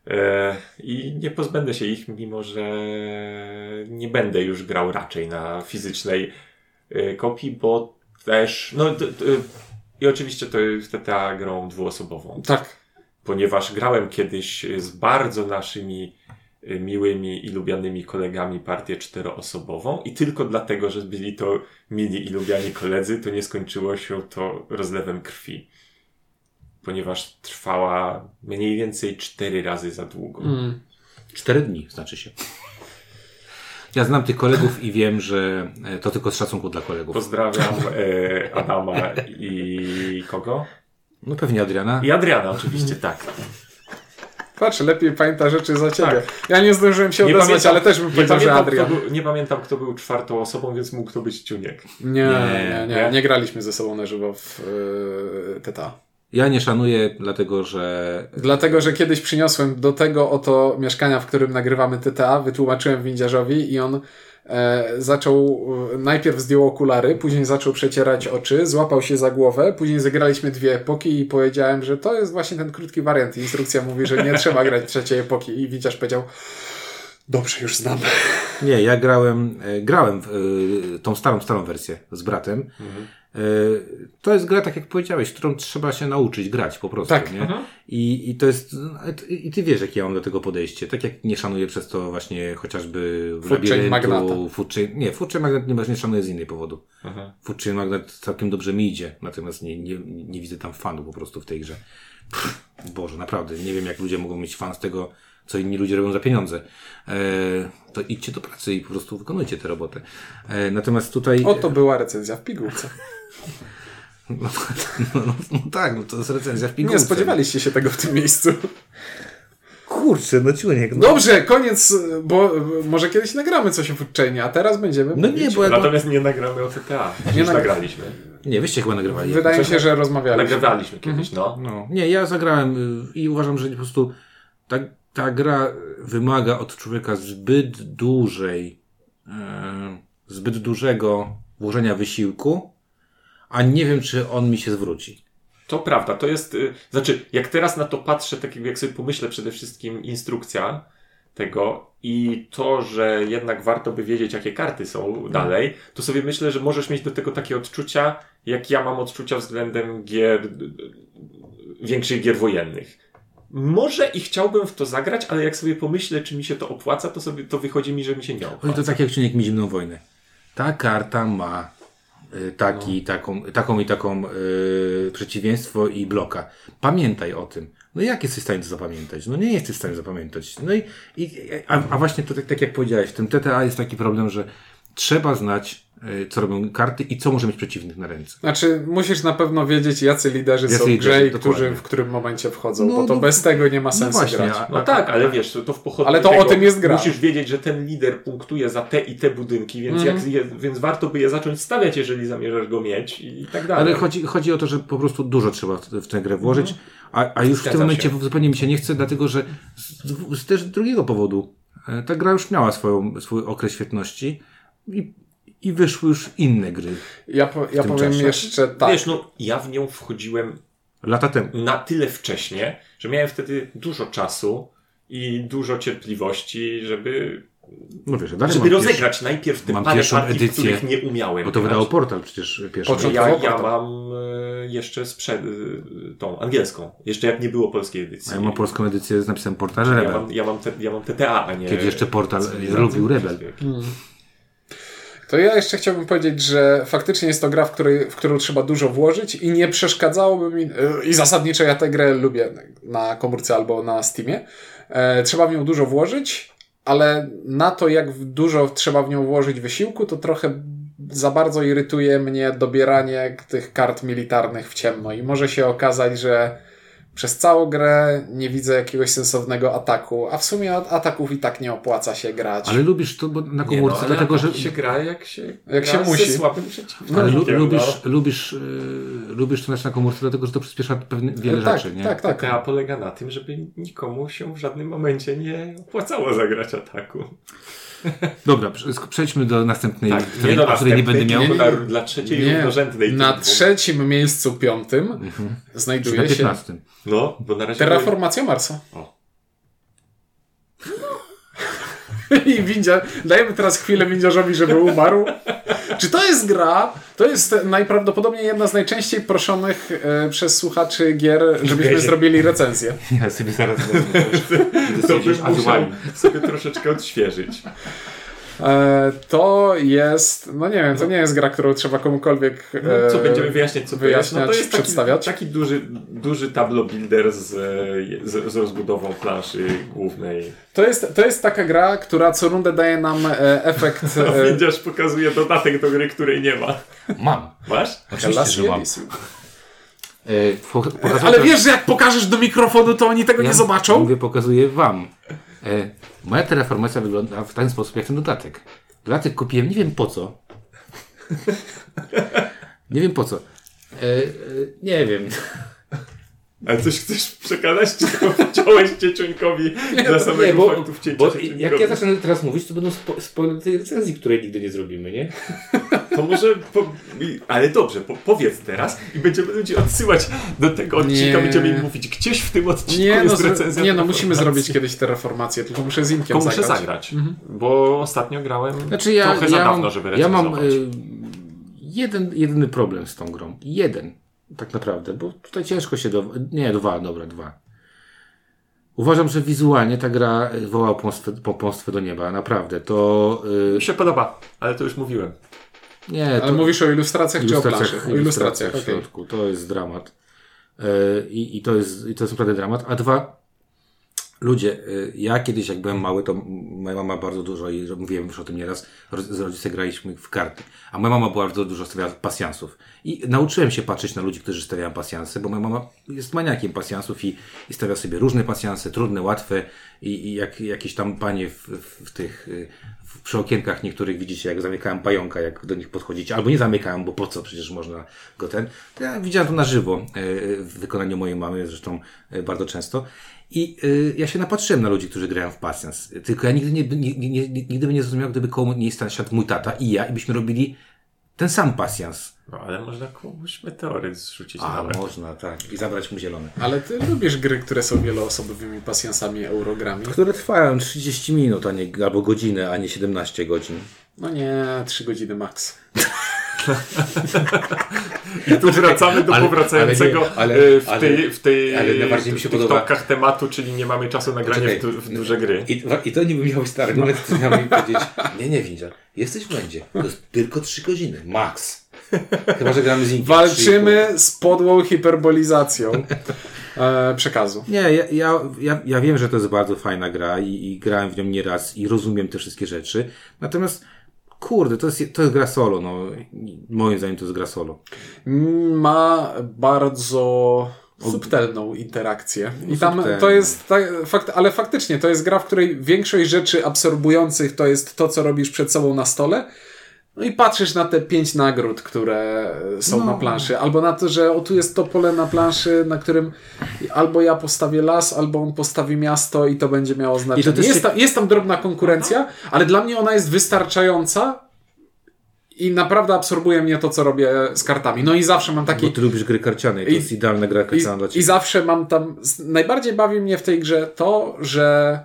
C: E, I nie pozbędę się ich, mimo że nie będę już grał raczej na fizycznej e, kopii, bo też. No, d- d- i oczywiście to jest TTA grą dwuosobową
B: Tak.
C: ponieważ grałem kiedyś z bardzo naszymi y, miłymi i lubianymi kolegami partię czteroosobową i tylko dlatego, że byli to mili i lubiani koledzy, to nie skończyło się to rozlewem krwi. Ponieważ trwała mniej więcej cztery razy za długo.
B: Mm.
A: 4 dni, znaczy się. Ja znam tych kolegów i wiem, że e, to tylko z szacunku dla kolegów.
C: Pozdrawiam e, Adama i kogo?
A: No pewnie Adriana.
C: I Adriana oczywiście, tak.
B: Patrz, lepiej pamięta rzeczy za ciebie.
C: Tak.
B: Ja nie zdążyłem się
C: Nie
B: odezwać,
C: pamiętam-
B: ale też bym
C: nie
B: powiedział, że
C: pamiętam, kto
B: Adrian.
C: był, nie pamiętam, kto był czwartą osobą, więc mógł to być Ciuniek.
B: Nie, nie,
A: Nie,
B: nie,
C: nie?
B: nie graliśmy ze sobą na żywo w yy, TTA.
A: Ja nie szanuję, dlatego że
B: Dlatego, że kiedyś przyniosłem do tego oto mieszkania, w którym nagrywamy TTA, wytłumaczyłem windziarzowi i on e, zaczął, e, najpierw zdjął okulary, później zaczął przecierać oczy, złapał się za głowę, później zagraliśmy dwie epoki i powiedziałem, że to jest właśnie ten krótki wariant. I Instrukcja mówi, że nie trzeba grać trzeciej epoki i windziarz powiedział, dobrze, już znam.
A: Nie, ja grałem, e, grałem w e, tą starą, starą wersję z bratem.
B: Mhm.
A: E, To jest gra, tak jak powiedziałeś, którą trzeba się nauczyć grać po prostu.
B: Tak,
A: Nie? I, I to jest. ale ty- I ty wiesz, jakie ja mam do tego podejście. Tak jak nie szanuję przez to właśnie chociażby w
B: Food Chain Magnata.
A: labiryntu, Food Chain- Nie, Food Chain Magnet nie, nie szanuję z innej powodu.
C: Aha.
A: Food Chain Magnet całkiem dobrze mi idzie, natomiast nie, nie, nie widzę tam fanu po prostu w tej grze. Pff, Boże, naprawdę, nie wiem jak ludzie mogą mieć fan z tego, co inni ludzie robią za pieniądze. E, to idźcie do pracy i po prostu wykonujcie tę robotę. E, natomiast tutaj...
B: Oto była recenzja w pigułce.
A: <laughs> No, no, no, no tak, no to jest recenzja w pigułce.
B: Nie spodziewaliście się tego w tym miejscu.
A: Kurczę, no ciuniek. No,
B: Dobrze, koniec, bo e, może kiedyś nagramy coś o Foodchainie, a teraz będziemy
A: no
B: mówić
A: nie, bo ja to...
C: Natomiast nie nagramy o TTA.
B: Nie
C: Nie
B: nag-
C: nagraliśmy.
A: Nie, wyście chyba nagrywali.
B: Wydaje mi
C: Coś-
B: się, że rozmawialiśmy.
C: Nagrywaliśmy kiedyś, no.
A: No, nie, ja zagrałem y, i uważam, że po prostu ta, ta gra wymaga od człowieka zbyt dużej, y, zbyt dużego włożenia wysiłku, a nie wiem, czy on mi się zwróci.
C: To prawda, to jest. y, Znaczy, jak teraz na to patrzę, tak jak sobie pomyślę przede wszystkim instrukcja tego i to, że jednak warto by wiedzieć, jakie karty
A: Mhm.
C: są dalej, to sobie myślę, że możesz mieć do tego takie odczucia, jak ja mam odczucia względem gier. y, y, większych gier wojennych. Może i chciałbym w to zagrać, ale jak sobie pomyślę, czy mi się to opłaca, to sobie to wychodzi mi, że mi się nie
A: Oj,
C: opłaca.
A: to tak jak Czuniek mi zimną wojnę. Ta karta ma y, taki, taką, taką i taką y, przeciwieństwo i bloka. Pamiętaj o tym. No jak jesteś w stanie to zapamiętać? No nie jesteś w stanie zapamiętać. No i, i a, a właśnie to tak, tak jak powiedziałeś, w tym TTA jest taki problem, że trzeba znać, y, co robią karty i co może mieć przeciwnych na ręce.
B: Znaczy, musisz na pewno wiedzieć, jacy liderzy
A: Jacy
B: są w grze
A: liderzy,
B: i którzy,
A: dokładnie.
B: w którym momencie wchodzą,
A: No,
B: bo to
A: no,
B: bez tego nie ma
A: no
B: sensu
A: właśnie,
B: grać.
A: a-
C: No tak, ale wiesz, to w pochodniu
B: Ale to
C: tego
B: o tym jest gra.
C: Musisz wiedzieć, że ten lider punktuje za te i te budynki, więc,
B: Mhm.
C: jak je, więc warto by je zacząć stawiać, jeżeli zamierzasz go mieć i, i tak dalej.
A: Ale chodzi, chodzi o to, że po prostu dużo trzeba w- w tę grę włożyć, a, a już w
C: Zgadzam
A: tym momencie
C: się.
A: zupełnie mi się nie chce, dlatego że z, z- z też drugiego powodu e, ta gra już miała swoją, swój okres świetności i, i wyszły już inne gry
B: Ja, po, ja
A: tym
B: powiem
A: czasie.
B: jeszcze tak.
C: Wiesz, no ja w nią wchodziłem
A: lata temu.
C: na tyle wcześnie, że miałem wtedy dużo czasu i dużo cierpliwości, żeby,
A: No wiesz, ja dalej
C: żeby
A: mam pierwszy-
C: rozgrać najpierw te
A: mam
C: parę
A: pierwszą
C: partii,
A: edycję,
C: których nie umiałem
A: Bo to
C: grać.
A: wydało portal przecież pierwszy.
B: Początkowo
C: ja, ja
B: portal.
C: mam e, jeszcze sprzed e, tą angielską, jeszcze jak nie było polskiej edycji.
A: Ja mam polską edycję z napisem Portal Rebel.
C: Ja mam, ja, mam te, ja mam TTA, a nie.
A: Kiedy jeszcze Portal
C: cywilizację
A: robił Rebel.
C: wszystkiego.
B: To ja jeszcze chciałbym powiedzieć, że faktycznie jest to gra, w, której, w którą trzeba dużo włożyć i nie przeszkadzałoby mi, yy, i zasadniczo ja tę grę lubię na komórce albo na Steamie, e, trzeba w nią dużo włożyć, ale na to, jak w- dużo trzeba w nią włożyć wysiłku, to trochę za bardzo irytuje mnie dobieranie tych kart militarnych w ciemno i może się okazać, że przez całą grę nie widzę jakiegoś sensownego ataku, a w sumie at- ataków i tak nie opłaca się grać.
A: Ale lubisz to bo na
C: Nie,
A: komórce,
C: no, ale
A: dlatego że...
C: ataki się gra jak się,
B: Jak
C: gra
B: się musi.
C: Ze słabym przeciwnikiem.
A: No, Ale lu,
C: Takiego,
A: lubisz, lubisz, yy, lubisz to na komórce, dlatego że to przyspiesza pewne, wiele
B: tak,
A: rzeczy, nie?
B: tak,
C: no.
B: tak.
C: TTA polega na tym, żeby nikomu się w żadnym momencie nie opłacało zagrać ataku.
A: Dobra, prze- przejdźmy do następnej,
C: Tak,
A: której,
C: nie do
A: o której nie będę
C: następnej,
A: miał.
C: tylko Dla, dla trzeciej
B: Nie,
C: równorzędnej.
B: Na
C: tych dwóch.
B: trzecim miejscu piątym
A: Czy na
B: znajduje się
A: 15.
C: No, bo na razie.
B: Terraformacja Marsa. No.
C: O.
B: <laughs> I windzia... Dajemy teraz chwilę windziarzowi, żeby umarł. Czy to jest gra? To jest najprawdopodobniej jedna z najczęściej proszonych e, przez słuchaczy gier, żebyśmy zrobili recenzję.
A: Ja sobie zaraz <laughs>
C: to bym musiał sobie troszeczkę odświeżyć.
B: E, to jest, no nie wiem, to nie jest gra, którą trzeba komukolwiek
C: No, co
B: e,
C: będziemy wyjaśniać, co wyjaśniać,
B: wyjaśniać,
C: no, to jest taki,
B: przedstawiać.
C: taki duży, duży tablo builder z, e, z, z rozbudową planszy głównej.
B: To jest, to jest taka gra, która co rundę daje nam e, efekt...
C: A
B: E,
C: Windziarz pokazuje dodatek do gry, której nie ma.
A: Mam.
C: Masz?
A: Oczywiście, że mam. E, po- pokazał
B: Ale
A: to-
B: wiesz, że jak pokażesz do mikrofonu, to oni tego nie zobaczą?
A: Mówię, pokazuję wam. E, moja teleformacja wygląda w ten sposób jak ten dodatek. Dodatek kupiłem, nie wiem po co. <laughs> Nie wiem po co. E, e, nie wiem.
C: Ale coś chcesz przekazać, czy tylko chciałeś cieciuńkowi dla samego
A: Nie, bo,
C: faktu wcięcia
A: bo
C: cieciuńkowi?
A: jak ja zacznę teraz mówić, to będą spo, spoilery tej recenzji, której nigdy nie zrobimy, nie?
C: To może, po... i- ale dobrze, po... powiedz teraz i będziemy ludzi odsyłać do tego odcinka,
B: Nie.
C: będziemy im mówić, gdzieś w tym odcinku
B: Nie no,
C: jest
B: zro-
C: recenzja.
B: nie no,
C: na
B: musimy
C: formacji.
B: zrobić kiedyś tę reformację, tylko muszę z Inkiem
C: Tylko muszę
B: zagrać.
C: zagrać, bo ostatnio grałem
A: Mhm. Znaczy ja,
C: trochę
A: ja
C: za
A: mam-
C: dawno, żeby
A: Ja mam
C: recenzować.
A: y, jeden, jedyny problem z tą grą. Jeden, tak naprawdę, bo tutaj ciężko się do... Nie, dwa, dobra, dwa. Uważam, że wizualnie ta gra y, woła pomstwę, po pomstwę do nieba, naprawdę. To y,
C: Mi się podoba, ale to już mówiłem.
A: nie, to
B: Ale mówisz o ilustracjach, czy o
A: ilustracjach, tak.
B: planszach? O ilustracjach,
A: w
B: okej.
A: środku. To jest dramat. Y, I, i, to jest, I to jest naprawdę dramat. A dwa, ludzie, y, ja kiedyś jak byłem mały, to moja mama bardzo dużo, i mówiłem już o tym nieraz, roz- z rodzice graliśmy w karty. A moja mama bardzo dużo stawiała pasjansów. I nauczyłem się patrzeć na ludzi, którzy stawiają pasjanse, bo moja mama jest maniakiem pasjansów i, i stawia sobie różne pasjanse, trudne, łatwe. I, i jak jakieś tam panie w, w, w tych, y, w, przy okienkach niektórych widzicie, jak zamykałem pająka, jak do nich podchodzicie, albo nie zamykałem, bo po co, przecież można go ten. To ja widziałem to na żywo y, y, w wykonaniu mojej mamy, zresztą y, bardzo często. I y, ja się napatrzyłem na ludzi, którzy grają w pasjans. Tylko ja nigdy, nie, nie, nie, nigdy bym nie zrozumiał, gdyby koło mnie siadł mój tata i ja, i byśmy robili ten sam pasjans.
C: No ale można komuś meteoryt zrzucić
A: A,
C: na brak.
A: można, tak. I zabrać mu zielone.
B: Ale ty lubisz gry, które są wieloosobowymi pasjansami, eurogrami?
A: Które trwają 30 minut, a nie, albo godzinę, a nie 17 godzin.
B: No nie, trzy godziny max.
C: I tu wracamy do
A: ale-
C: powracającego
A: ale nie, ale-
C: e, w
A: ale-
C: tej, w tej
A: ale najbardziej mi się
C: w tych
A: podoba-
C: topkach tematu, czyli nie mamy czasu na granie w, du w duże gry. No.
A: I, no, I to niby miał stary argument, który miał mi powiedzieć,
C: <laughs>
A: nie, nie Windzia, jesteś w błędzie. To jest tylko 3 godziny, max. Chyba, że gramy z Inkiem.
B: Walczymy z podłą hiperbolizacją e, przekazu.
A: Nie, ja, ja, ja, ja wiem, że to jest bardzo fajna gra i, i grałem w nią nieraz i rozumiem te wszystkie rzeczy. Natomiast, kurde, to jest, to jest gra solo, no. Moim zdaniem to jest gra solo.
B: Ma bardzo subtelną interakcję. I tam
A: Subtelną.
B: to jest, tak, fakt, ale faktycznie to jest gra, w której większość rzeczy absorbujących to jest to, co robisz przed sobą na stole. No i patrzysz na te pięć nagród, które e, są
A: No.
B: na planszy. Albo na to, że o tu jest to pole na planszy, na którym albo ja postawię las, albo on postawi miasto i to będzie miało
A: I to
B: znaczenie.
A: też
B: Jest,
A: się-
B: tam, jest tam drobna konkurencja, ale dla mnie ona jest wystarczająca, i naprawdę absorbuje mnie to, co robię z kartami. No i zawsze mam
A: Bo
B: taki.
A: ty lubisz gry karciane i to
B: I-
A: jest idealna gra
B: I,
A: karciana Tak dla
B: I
A: ciebie.
B: zawsze mam tam. z- Najbardziej bawi mnie w tej grze to, że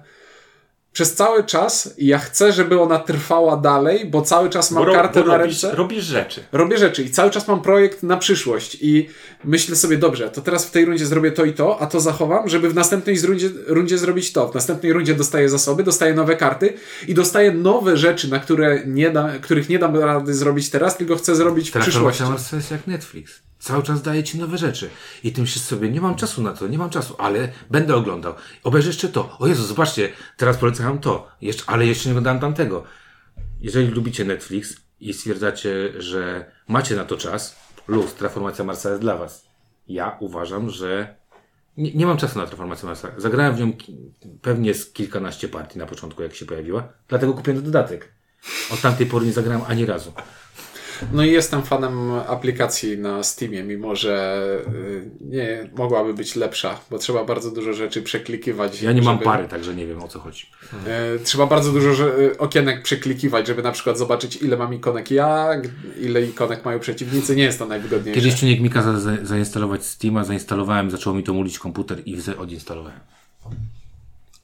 B: przez cały czas ja chcę, żeby ona trwała dalej, bo cały czas mam
C: Bo ro-
B: kartę
C: bo
B: na
C: robisz,
B: ręce.
C: robisz rzeczy.
B: Robię rzeczy i cały czas mam projekt na przyszłość i myślę sobie, dobrze, to teraz w tej rundzie zrobię to i to, a to zachowam, żeby w następnej z rundzie, rundzie zrobić to. W następnej rundzie dostaję zasoby, dostaję nowe karty i dostaję nowe rzeczy, na które nie da, których nie dam rady zrobić teraz, tylko chcę zrobić w przyszłości.
A: Transformacja ma sens jak Netflix. Cały czas daje ci nowe rzeczy. I ty myślisz sobie, nie mam czasu na to, nie mam czasu, ale będę oglądał. Obejrzę jeszcze to. O Jezu, zobaczcie, teraz polecam to, jeszcze, ale jeszcze nie oglądałem tamtego. Jeżeli lubicie Netflix i stwierdzacie, że macie na to czas, luz, Transformacja Marsa jest dla was. Ja uważam, że nie, nie mam czasu na Transformację Marsa. Zagrałem w nią ki- pewnie z kilkanaście partii na początku, jak się pojawiła. Dlatego kupiłem ten dodatek. Od tamtej pory nie zagrałem ani razu.
B: No i jestem fanem aplikacji na Steamie, mimo że y, nie mogłaby być lepsza, bo trzeba bardzo dużo rzeczy przeklikiwać.
A: Ja nie mam
B: żeby-
A: pary, także nie wiem o co chodzi.
B: E, Trzeba bardzo dużo że- e, okienek przeklikiwać, żeby na przykład zobaczyć, ile mam ikonek ja, g- ile ikonek mają przeciwnicy. Nie jest to najwygodniejsze.
A: Kiedyś czynnik mi kazał za- zainstalować Steama, zainstalowałem, zaczęło mi to mulić komputer i wze- odinstalowałem.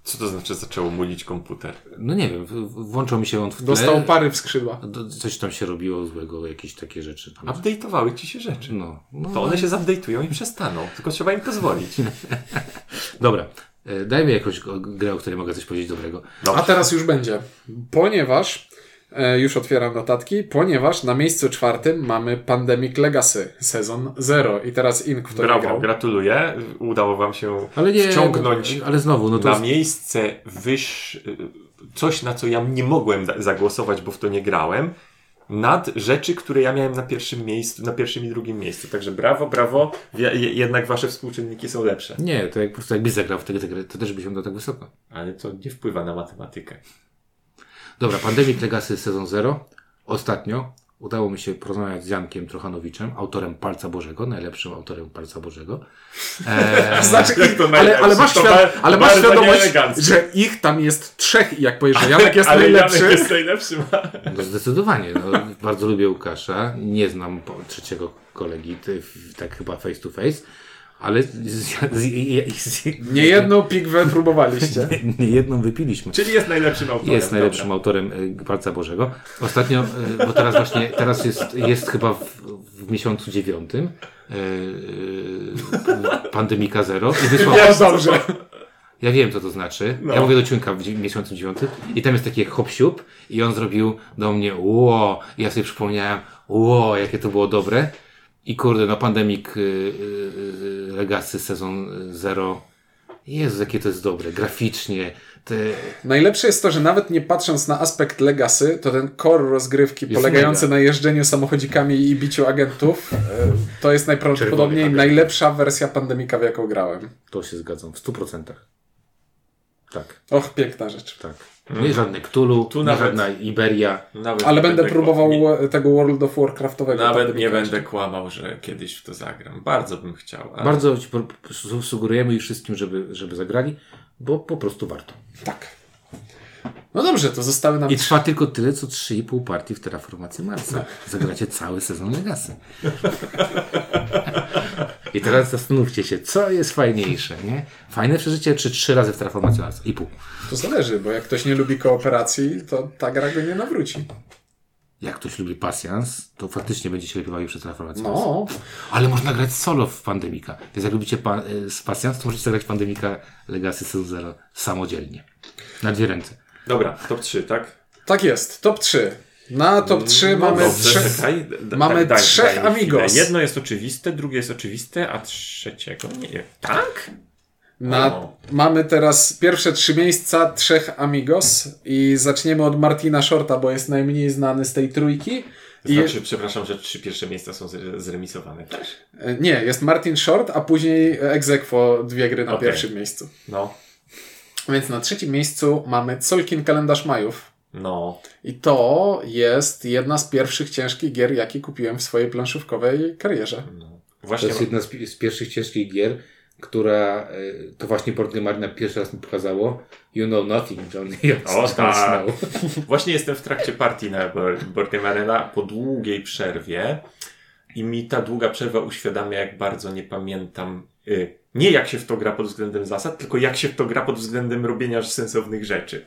C: Co to znaczy zaczęło mulić komputer?
A: No nie wiem, w- w- włączył mi się on w tle.
B: Dostał pary w skrzydła.
A: Do, coś tam się robiło złego, jakieś takie rzeczy. Tam.
C: Update'owały ci się rzeczy.
A: No, no.
C: To one się zupdate'ują i przestaną, tylko trzeba im
A: <laughs>
C: pozwolić.
A: Dobra, e, daj mi jakąś go- grę, o której mogę coś powiedzieć dobrego.
B: A teraz już będzie. Ponieważ, e, już otwieram notatki, ponieważ na miejscu czwartym mamy Pandemic Legacy, sezon 0. I teraz Ink w to nie
C: Brawo,
B: grał.
C: gratuluję. Udało wam się
A: Ale nie,
C: wciągnąć
A: Ale znowu, no to
C: na
A: jest,
C: miejsce wyż... coś, na co ja nie mogłem za- zagłosować, bo w to nie grałem. nad rzeczy, które ja miałem na pierwszym miejscu, na pierwszym i drugim miejscu. Także brawo, brawo. Ja- je- Jednak wasze współczynniki są lepsze.
A: Nie, to jak po prostu jakbyś zagrał w tę tę grę, to też byś ją dał tak wysoko.
C: Ale to nie wpływa na matematykę.
A: Dobra, Pandemic Legacy sezon 0. Ostatnio udało mi się porozmawiać z Jankiem Trochanowiczem, autorem Palca Bożego, najlepszym autorem Palca Bożego. Eee,
B: <laughs> Znaczy,
C: Jak to
B: ale, ale
C: najlepszy,
B: masz,
C: to
B: świad-
C: ba-
B: ale masz
C: bardzo
B: świadomość,
C: nieelegancko.
B: że ich tam jest trzech i jak powiesz, że
C: <laughs>
B: Janek jest
C: Ale
B: najlepszy,
C: Janek jest najlepszy.
A: No zdecydowanie. No, <laughs> bardzo lubię Łukasza. Nie znam po- trzeciego kolegi, ty- w- tak chyba face to face, ale z, z, z, z,
B: nie jedną pigwę
C: <laughs>
B: próbowaliście.
A: nie jedną wypiliśmy.
C: <laughs> Czyli jest najlepszym autorem.
A: Jest najlepszym autorem y, Palca Bożego. Ostatnio, y, bo teraz właśnie, teraz jest, jest chyba w, w miesiącu dziewiątym y, y, Pandemika Zero i wysłał,
B: Wiesz No dobrze.
A: ja wiem, co to znaczy.
C: No.
A: Ja mówię do Ciunka w dzie- miesiącu dziewiątym i tam jest taki hopsiub i on zrobił do mnie ło. I ja sobie przypomniałem ło, jakie to było dobre. I kurde, no Pandemic y, y, y, Legacy sezon y, zero. Jezu, jakie to jest dobre. Graficznie. Te...
B: Najlepsze jest to, że nawet nie patrząc na aspekt legacy, to ten core rozgrywki
A: Jest
B: polegający
A: mega.
B: na jeżdżeniu samochodzikami i biciu agentów, e, to
A: Czerwony
B: jest najprawdopodobniej
A: agent.
B: najlepsza wersja pandemika, w jaką grałem.
A: To się zgadzam w 100%. Tak,
B: Och, piękna rzecz.
A: tak. Nie żadne Cthulhu,
C: Mhm. Tu
A: nie
C: nawet- Tak.
A: żadna Iberia.
C: Nawet
B: Ale
C: nie
B: będę próbował
C: Nie,
B: tego World of Warcraftowego.
C: nawet
B: pandemika
C: nie
B: jeszcze.
C: będę kłamał, że kiedyś w to zagram. Bardzo bym chciał. Ale...
A: Bardzo ci pro- su- sugerujemy i wszystkim, żeby, żeby zagrali, bo po prostu warto.
B: Tak. No dobrze, to zostały nam
A: I trwa tylko tyle, co 3,5 partii w Terraformacji Marsa. Zagracie cały sezon Legacy. I teraz zastanówcie się, co jest fajniejsze, nie? Fajne przeżycie, czy trzy razy w Terraformacji Marsa? I pół.
B: To zależy, bo jak ktoś nie lubi kooperacji, to ta gra go nie nawróci.
A: Jak ktoś lubi pasjans, to faktycznie będzie się lepiej bawił przez Terraformację Marsa.
B: No,
A: Ale można grać solo w Pandemika. Więc jak lubicie pa- y, z pasjans, to możecie zagrać w Pandemika Legacy Sezon Zero samodzielnie. Na dwie ręce.
C: Dobra, top 3, tak?
B: tak jest. Top 3. Na top 3 mamy
C: dobrze,
B: trzy...
C: <laughs> czekaj, d- d-
B: mamy
C: daj-
B: trzech
C: daj mi chwilę.
B: amigos.
C: Jedno jest oczywiste, drugie jest oczywiste, a trzeciego nie. Tak?
B: Na...
C: O.
B: Mamy teraz pierwsze trzy miejsca trzech amigos i zaczniemy od Martina Shorta, bo jest najmniej znany z tej trójki. I...
C: Znaczy, przepraszam, że trzy pierwsze miejsca są zre- zremisowane też.
B: e, Nie, jest Martin Short, a później Exequo dwie gry na
C: Okej.
B: pierwszym miejscu.
C: No,
B: Więc na trzecim miejscu mamy Solkin Kalendarz Majów.
C: no.
B: I to jest jedna z pierwszych ciężkich gier, jakie kupiłem w swojej planszówkowej karierze.
C: no.
A: To
C: Właśnie.
A: jest jedna z, pi- z pierwszych ciężkich gier, która y, to właśnie Portly Marina pierwszy raz mi pokazało. You know nothing, <laughs> John. Yes,
C: O,
A: John
C: tak.
A: Snow.
C: Właśnie jestem w trakcie partii na Bor- Bordimarella po długiej przerwie i mi ta długa przerwa uświadamia, jak bardzo nie pamiętam y, nie jak się w to gra pod względem zasad, tylko jak się w to gra pod względem robienia sensownych rzeczy.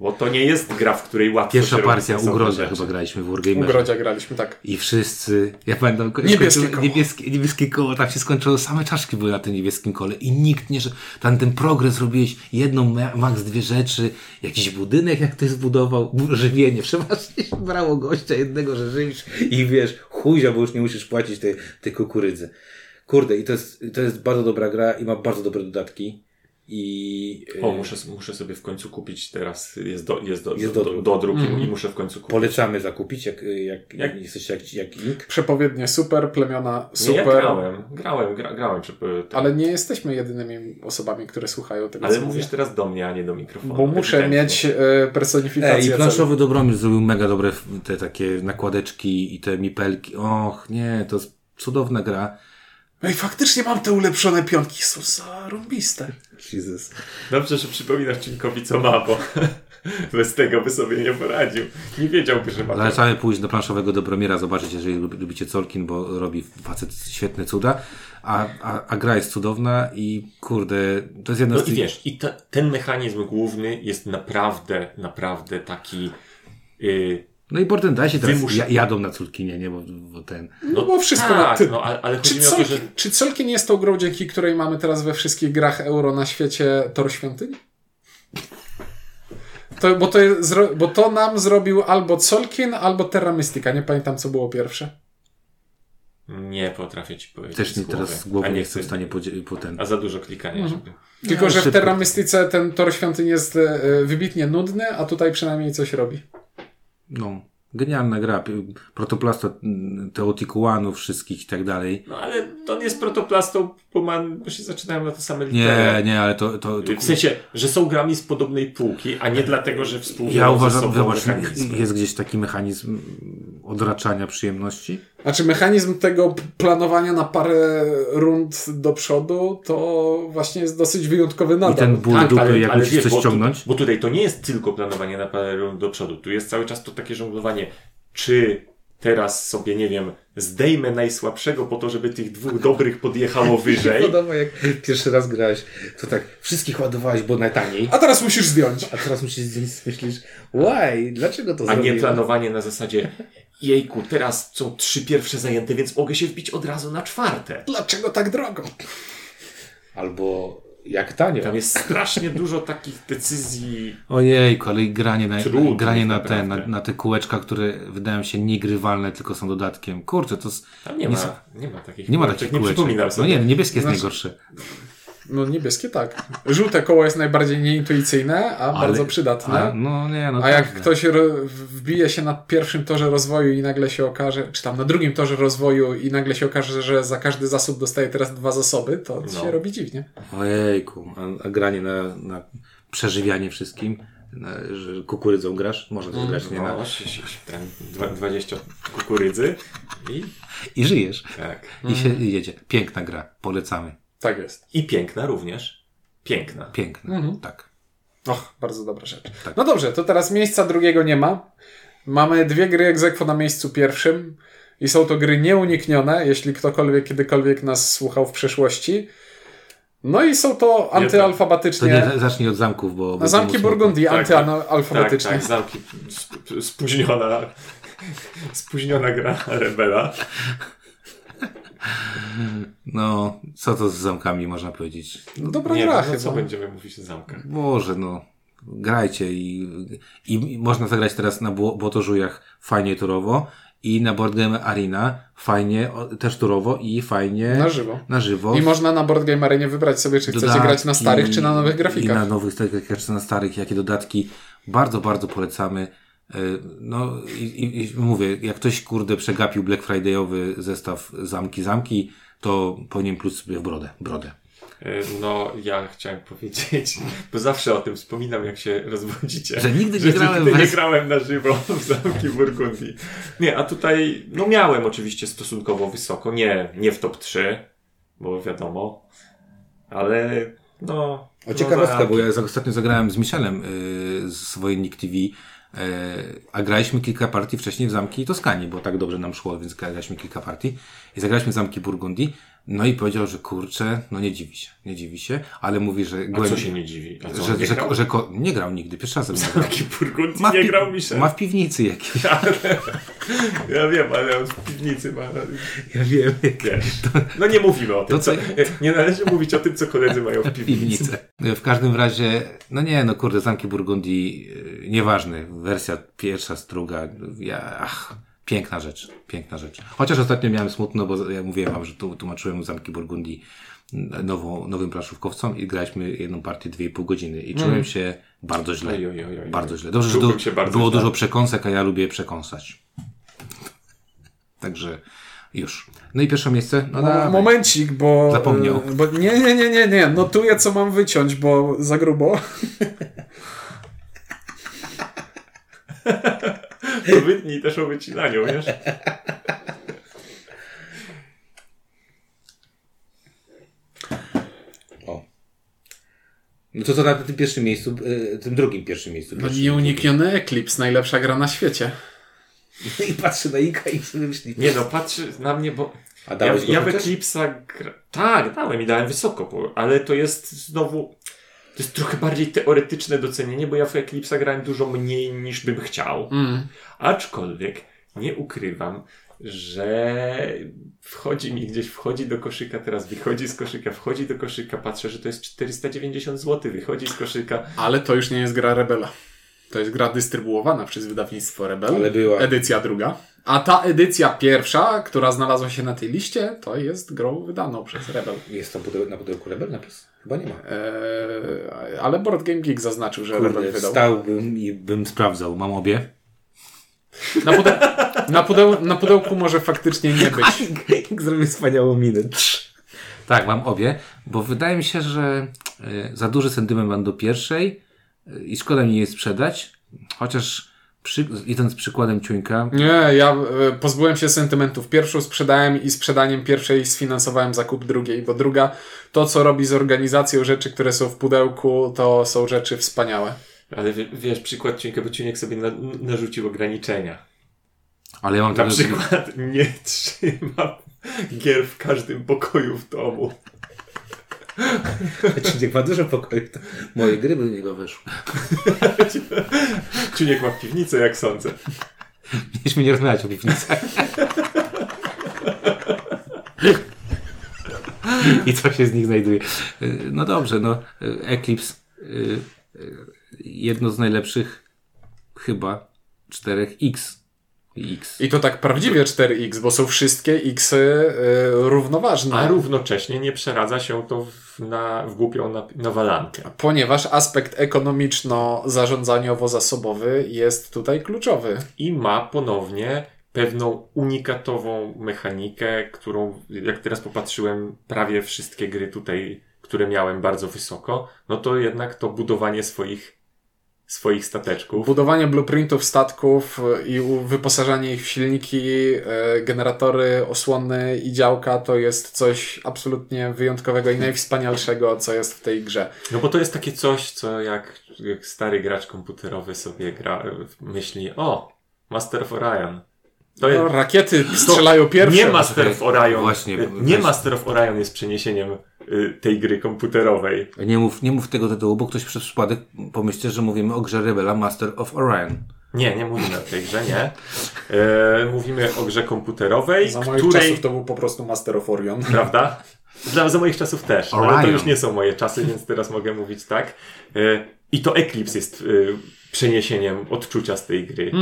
C: Bo to nie jest gra, w której łatwo
A: Pierwsza
C: się robi
A: partia
C: sensowne
A: Ugrodzia
C: rzeczy.
A: chyba graliśmy w
B: U
A: Wargamerze.
B: Grodzia graliśmy, tak.
A: I wszyscy, ja pamiętam, ko-
B: Niebieskie
A: skończyło-
B: koło.
A: Niebieskie, niebieskie koło, tam się skończyło, same czaszki były na tym niebieskim kole i nikt nie, że tam ten progres robiłeś, jedną, ma- max dwie rzeczy, jakiś budynek jak ktoś zbudował, bu- żywienie, <laughs> przeważnie się brało gościa jednego, że żywisz i wiesz, chuzia, bo już nie musisz płacić tej, tej kukurydzy. Kurde, i to jest, to jest bardzo dobra gra i ma bardzo dobre dodatki i
C: O,
A: e,
C: muszę, muszę sobie w końcu kupić teraz, jest, do, jest, do,
A: Jest
C: do, do,
A: dodruk.
C: dodruk i-
B: Mhm.
C: i muszę w końcu kupić.
A: polecamy zakupić, jak, jak,
C: Jak-
A: jak jesteście jak, jak ink.
B: Przepowiednie super, plemiona
C: Nie, ja
B: super.
C: grałem, grałem, gra, grałem. Czy, tak.
B: ale nie jesteśmy jedynymi osobami, które słuchają tego,
C: ale
B: co
C: mówisz
B: mówię.
C: teraz do mnie, a nie do mikrofonu.
B: Bo muszę
C: Ewidentnie.
B: mieć e,
A: Ej, i
B: personifikację. celu.
A: planszowy Dobromir zrobił mega dobre f- te takie nakładeczki i te mipelki. Och, nie, to jest cudowna gra.
B: Ej, faktycznie mam te ulepszone pionki. Są zarąbiste.
A: Jesus.
C: Dobrze, że przypominasz Cinkowi, co ma, bo <laughs> bez tego by sobie nie poradził. Nie wiedziałby, że ma. to.
A: Zalecamy pójść do planszowego Dobromira, zobaczyć, jeżeli lubi- lubicie Colkin, bo robi facet świetne cuda. A, a, a gra jest cudowna i kurde, to jest jedna
C: No
A: z
C: i
A: tych...
C: wiesz, i te, ten mechanizm główny jest naprawdę, naprawdę taki. Yy,
A: No i Portem daj się teraz
C: Wymusz-
A: ja, jadą na Colkinie, nie? Bo, bo ten...
B: No bo wszystko na
C: tak,
B: tym.
C: no, a- ale chodzi
B: Czy
C: mi o to,
B: Solkin,
C: że.
B: czy Solkin jest tą grą, dzięki której mamy teraz we wszystkich grach euro na świecie tor świątyni? To, bo, to jest, zro- bo to nam zrobił albo Solkin, albo Terra Mystica. Nie pamiętam, co było pierwsze.
C: Nie potrafię ci powiedzieć.
A: Też nie
C: z głowy.
A: teraz z głowy
C: A
A: nie jestem w
C: chcę-
A: stanie podzie- po ten...
C: A za dużo klikania, żeby.
B: Tylko,
A: No,
B: że w
A: szybko.
B: Terra Mystice ten tor świątyni jest e, e, wybitnie nudny, a tutaj przynajmniej coś robi.
A: No, Genialna gra. pi- Protoplasta mm, Teotikuanów wszystkich i tak dalej.
C: No ale to nie jest protoplastą, bo, man, bo się zaczynają na te same
A: Nie,
C: litery.
A: nie, ale to... to, to
C: W sensie, że są grami z podobnej półki, a nie dlatego, że współżywają
A: ja
C: ze
A: uważam,
C: sobą
A: zobacz,
C: mechanizmy.
A: jest gdzieś taki mechanizm odraczania przyjemności.
B: Znaczy mechanizm tego p- planowania na parę rund do przodu to właśnie jest dosyć wyjątkowy
A: I
B: nadal.
A: ten ból
C: Tak,
A: dupy,
C: ale-
A: jak
C: ale
A: musisz
C: wiesz,
A: coś
C: bo tu-
A: ciągnąć.
C: Bo tutaj to nie jest tylko planowanie na parę rund do przodu. Tu jest cały czas to takie żonglowanie, czy teraz sobie, nie wiem, zdejmę najsłabszego po to, żeby tych dwóch dobrych podjechało wyżej.
A: Podoba jak pierwszy raz grałeś, to tak wszystkich ładowałeś, bo najtaniej.
B: A teraz musisz zdjąć.
A: A teraz musisz zdjęć, myślisz, why, dlaczego to
C: A nie
A: zrobiłem?
C: planowanie na zasadzie jejku, teraz są trzy pierwsze zajęte, więc mogę się wbić od razu na czwarte.
B: Dlaczego tak drogo?
A: Albo jak tanio.
C: Tam jest strasznie dużo takich decyzji.
A: Ojejku, ale i granie na,
C: Trudno,
A: granie na,
C: tak
A: te, na,
C: naprawdę.
A: na te kółeczka, które wydają się niegrywalne, tylko są dodatkiem. Kurczę, to s-
C: Tam nie,
A: Nie są-
C: ma, nie ma takich
A: nie ma
C: kółeczek,
A: takich
C: tak Nie
A: kółeczek.
C: przypominam
A: no
C: sobie.
A: nie, niebieskie jest
B: Znaczy-
A: najgorsze.
B: No niebieskie tak. Żółte koło jest najbardziej nieintuicyjne, a bardzo przydatne.
A: A, no nie, no
B: A jak
A: tak,
B: ktoś ro- wbije się na pierwszym torze rozwoju i nagle się okaże, czy tam na drugim torze rozwoju i nagle się okaże, że za każdy zasób dostaje teraz dwa zasoby, to
C: No.
B: się robi dziwnie.
A: Ojejku, a, a granie na, na przeżywianie wszystkim, na, że kukurydzą grasz, można
B: Mm,
A: też grać, nie
C: No,
A: na...
C: się- się- się- ten dwa- 20 kukurydzy i
A: I żyjesz,
C: tak.
A: i się i jedzie. Piękna gra, polecamy.
B: Mm. Tak jest.
C: I piękna również. Piękna.
A: Piękna,
B: Mhm.
A: tak.
B: Och, bardzo dobra rzecz.
A: Tak.
B: No dobrze, to teraz miejsca drugiego nie ma. Mamy dwie gry egzekwo na miejscu pierwszym i są to gry nieuniknione, jeśli ktokolwiek kiedykolwiek nas słuchał w przeszłości. No i są to
A: To
B: antyalfabetycznie...
A: nie, zacznij od zamków, bo... bo
B: Na zamki
A: to-
B: Burgundii
C: Tak, tak. Tak,
B: antyalfabetyczne.
C: tak, zamki. sp- Spóźniona, spóźniona gra rebela.
A: No, co to z zamkami można powiedzieć?
B: Dobra
C: Nie,
B: gra
C: no,
B: chyba.
C: co będziemy mówić o zamkach?
A: Boże, no. Grajcie i, i, i można zagrać teraz na Bło- Błotożujach fajnie turowo i na Board Game Arena fajnie o, też turowo i fajnie
B: Na żywo.
A: na żywo.
B: I można na Board Game Arenie wybrać sobie, czy chcecie
A: Dodatki
B: grać na starych, czy na nowych
A: I na
B: grafikach.
A: nowych grafikach, czy na starych, jakie dodatki. Bardzo, bardzo polecamy. Y, No i, i, i mówię, jak ktoś kurde przegapił Black Fridayowy zestaw zamki, zamki, to powinien plus sobie w brodę. brodę.
C: E, No, ja chciałem powiedzieć, bo zawsze o tym wspominam, jak się rozwodzicie.
A: Że nigdy nie grałem
C: nigdy
A: w-
C: nie grałem na żywo w zamki Burgundii. Nie, a tutaj, no miałem oczywiście stosunkowo wysoko, nie, nie w top 3, bo wiadomo, ale no...
A: O
C: no
A: ciekawostka,
C: tak.
A: bo ja za- ostatnio zagrałem z Michelem y, z Wojennik TV, y, a graliśmy kilka partii wcześniej w zamki Toskanii, bo tak dobrze nam szło, więc graliśmy kilka partii i zagraliśmy w zamki Burgundii. No i powiedział, że kurczę, no nie dziwi się, nie dziwi się, ale mówi, że
C: A co
A: głębiej,
C: się nie dziwi? A co,
A: że,
C: nie
A: że,
C: grał? <laughs>
A: że ko- nie grał nigdy, pierwszy raz zagrał.
C: Zamki Burgundii
A: Ma w
C: nie
A: pi-
C: grał Michel.
A: Ma w piwnicy jakieś.
C: Ja wiem, ale on w piwnicy ma...
A: Ja wiem,
C: Wiesz. No nie mówimy o tym.
A: To co-
C: Co, <laughs> nie należy mówić o tym, co koledzy mają
A: <laughs>
C: w piwnicy.
A: piwnicę. W każdym razie, no nie, no kurde, zamki Burgundii, yy, nieważny, wersja pierwsza, struga, ja, ach, piękna rzecz, piękna rzecz. Chociaż ostatnio miałem smutno, bo ja mówiłem wam, że tu tłumaczyłem zamki Burgundii mm, nową, nowym planszówkowcom i graliśmy jedną partię 2,5 godziny i czułem się bardzo źle.
C: Oj, oj, oj, oj.
A: Bardzo źle. Dobrze, że
C: Czułbym
A: du-
C: się bardzo
A: było
C: źle.
A: dużo przekąsek, a ja lubię przekąsać. Także już. No i pierwsze miejsce. No,
B: Mo-
A: dawaj.
B: Momencik, bo...
A: Zapomniał.
B: e, Bo nie, nie, nie, nie, nie. Notuję, co mam wyciąć, bo za grubo.
C: To wytnij też o wycinaniu, wiesz?
A: O. No to co na tym pierwszym miejscu, y, tym drugim pierwszym
B: No
A: miejscu. Pierwszym.
B: Nieunikniony Eclipse, najlepsza gra na świecie.
A: I patrzy na Ika i sobie myśli.
C: Nie no, patrzy na mnie, bo
A: A
C: ja,
A: dałeś go
C: ja w
A: chociaż?
C: Eclipsa gra... Tak, dałem i dałem wysoko, bo... ale to jest znowu... To jest trochę bardziej teoretyczne docenienie, bo ja w Eclipsa grałem dużo mniej niż bym chciał.
B: Mm.
C: Aczkolwiek nie ukrywam, że wchodzi mi gdzieś, wchodzi do koszyka, teraz wychodzi z koszyka, wchodzi do koszyka, patrzę, że to jest 490 zł, wychodzi z koszyka.
B: Ale to już nie jest gra Rebela. To jest gra dystrybuowana przez wydawnictwo Rebel.
A: Ale była.
B: Edycja druga. A ta edycja pierwsza, która znalazła się na tej liście, to jest grą wydaną przez Rebel.
A: Jest tam pudeł, na pudełku Rebel napis? Chyba nie ma.
B: Eee, ale Board Game Geek zaznaczył, że Rebel
A: Kurde,
B: wydał.
A: stałbym i bym sprawdzał. Mam obie.
B: Na, pude... na, pudeł... na pudełku może faktycznie nie być.
A: Zrobił wspaniałą minę. Trz. Tak, mam obie, bo wydaje mi się, że y, za duży sentyment mam do pierwszej y, i szkoda mi jej sprzedać, chociaż przy, idąc przykładem Ciuńka,
B: Nie, ja e, pozbyłem się sentymentów. Pierwszą sprzedałem i sprzedaniem pierwszej sfinansowałem zakup drugiej, bo druga to, co robi z organizacją rzeczy, które są w pudełku, to są rzeczy wspaniałe.
C: Ale wie- wiesz, przykład Ciuńka, bo Ciuniek sobie na, narzucił ograniczenia.
A: ale ja mam
C: Na
A: tego-
C: przykład nie trzyma gier w każdym pokoju w domu.
A: Ciuniek ma dużo pokoju, to moje gry by do niego wyszły.
C: Ciuniek ma piwnicę, jak sądzę.
A: Mieliśmy nie rozmawiać o piwnicach. I co się z nich znajduje. Y, No dobrze, no y, Eclipse y, y, jedno z najlepszych chyba 4X. X.
B: I to tak prawdziwie 4X, bo są wszystkie X y, równoważne.
C: A równocześnie nie przeradza się to w, na, w głupią na, nawalankę.
B: Ponieważ aspekt ekonomiczno-zarządzaniowo-zasobowy jest tutaj kluczowy.
C: I ma ponownie pewną unikatową mechanikę, którą, jak teraz popatrzyłem, prawie wszystkie gry tutaj, które miałem bardzo wysoko, no to jednak to budowanie swoich, swoich stateczków.
B: Budowanie blueprintów statków e, i u- wyposażanie ich w silniki, e, generatory, osłony i działka to jest coś absolutnie wyjątkowego i najwspanialszego, co jest w tej grze.
C: No bo to jest takie coś, co jak, jak stary gracz komputerowy sobie gra, myśli, o, Master of Orion. To
B: No,
C: jest,
B: rakiety strzelają pierwsze. no
C: nie Master of Orion.
A: Właśnie,
C: y, nie
A: właśnie.
C: Master of Orion jest przeniesieniem y, tej gry komputerowej.
A: Nie mów, nie mów tego tytułu, bo ktoś przez przypadek pomyśli, że mówimy o grze Rebela Master of Orion.
C: Nie, nie mówimy o tej grze, nie. E, mówimy o grze komputerowej,
B: Za moich
C: której...
B: czasów to był po prostu Master of Orion.
C: Prawda? Dla, za moich czasów też, ale to
A: Orion.
C: już nie są moje czasy, więc teraz mogę mówić tak. E, I to Eclipse jest e, przeniesieniem odczucia z tej gry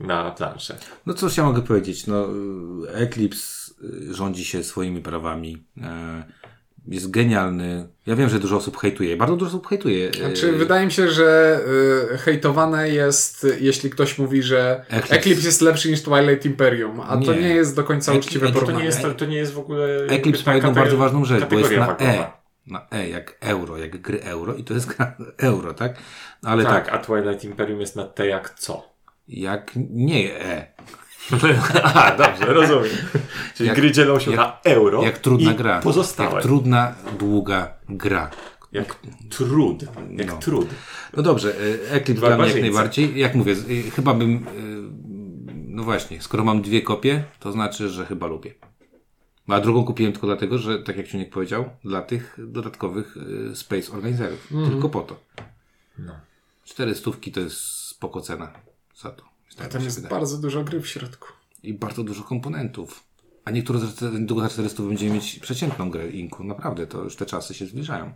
C: na planszę.
A: No cóż ja mogę powiedzieć, no y, Eclipse y, rządzi się swoimi prawami, e, jest genialny. Ja wiem, że dużo osób hejtuje, bardzo dużo osób hejtuje. e,
B: Znaczy, wydaje mi się, że y, hejtowane jest, y, jeśli ktoś mówi, że
A: Eclipse.
B: Eclipse, jest lepszy niż Twilight Imperium, a to
A: Nie.
B: nie jest do końca
A: Eclipse
B: uczciwe
A: to
C: To nie
B: porównanie.
C: jest, to nie jest w ogóle...
A: Eclipse ma jedną
C: kategor-
A: bardzo ważną rzecz, bo jest
C: kategoria
A: na
C: wagowa.
A: E. Na E, jak euro, jak gry euro i to jest gra <laughs> euro, tak? Ale tak,
C: Tak, a Twilight Imperium jest na T
A: <laughs>
C: jak co.
A: jak nie E,
C: A, dobrze, rozumiem. <laughs> Czyli
A: Jak-
C: gry dzielą się
A: jak-
C: na euro
A: jak trudna
C: i
A: gra.
C: pozostałe.
A: Jak trudna, długa gra.
C: Jak trud. Jak
A: No.
C: trud.
A: No dobrze, e, Eclipse dla mnie jak
C: Barbarzyńcy.
A: najbardziej. Jak mówię, z- y, chyba bym... y, No właśnie, skoro mam dwie kopie, to znaczy, że chyba lubię. A drugą kupiłem tylko dlatego, że, tak jak Ciuniek powiedział, dla tych dodatkowych y, Space Organizerów. Tylko po to.
C: No.
A: Cztery stówki to jest spoko cena za to.
B: A
A: Tak
B: tam
A: mi się
B: jest
A: wydaje.
B: bardzo dużo gry w środku.
A: I bardzo dużo komponentów. A niektóre za cztery- niedługo za 400 będziemy mieć przeciętną grę Inku. Naprawdę, to już te czasy się zbliżają.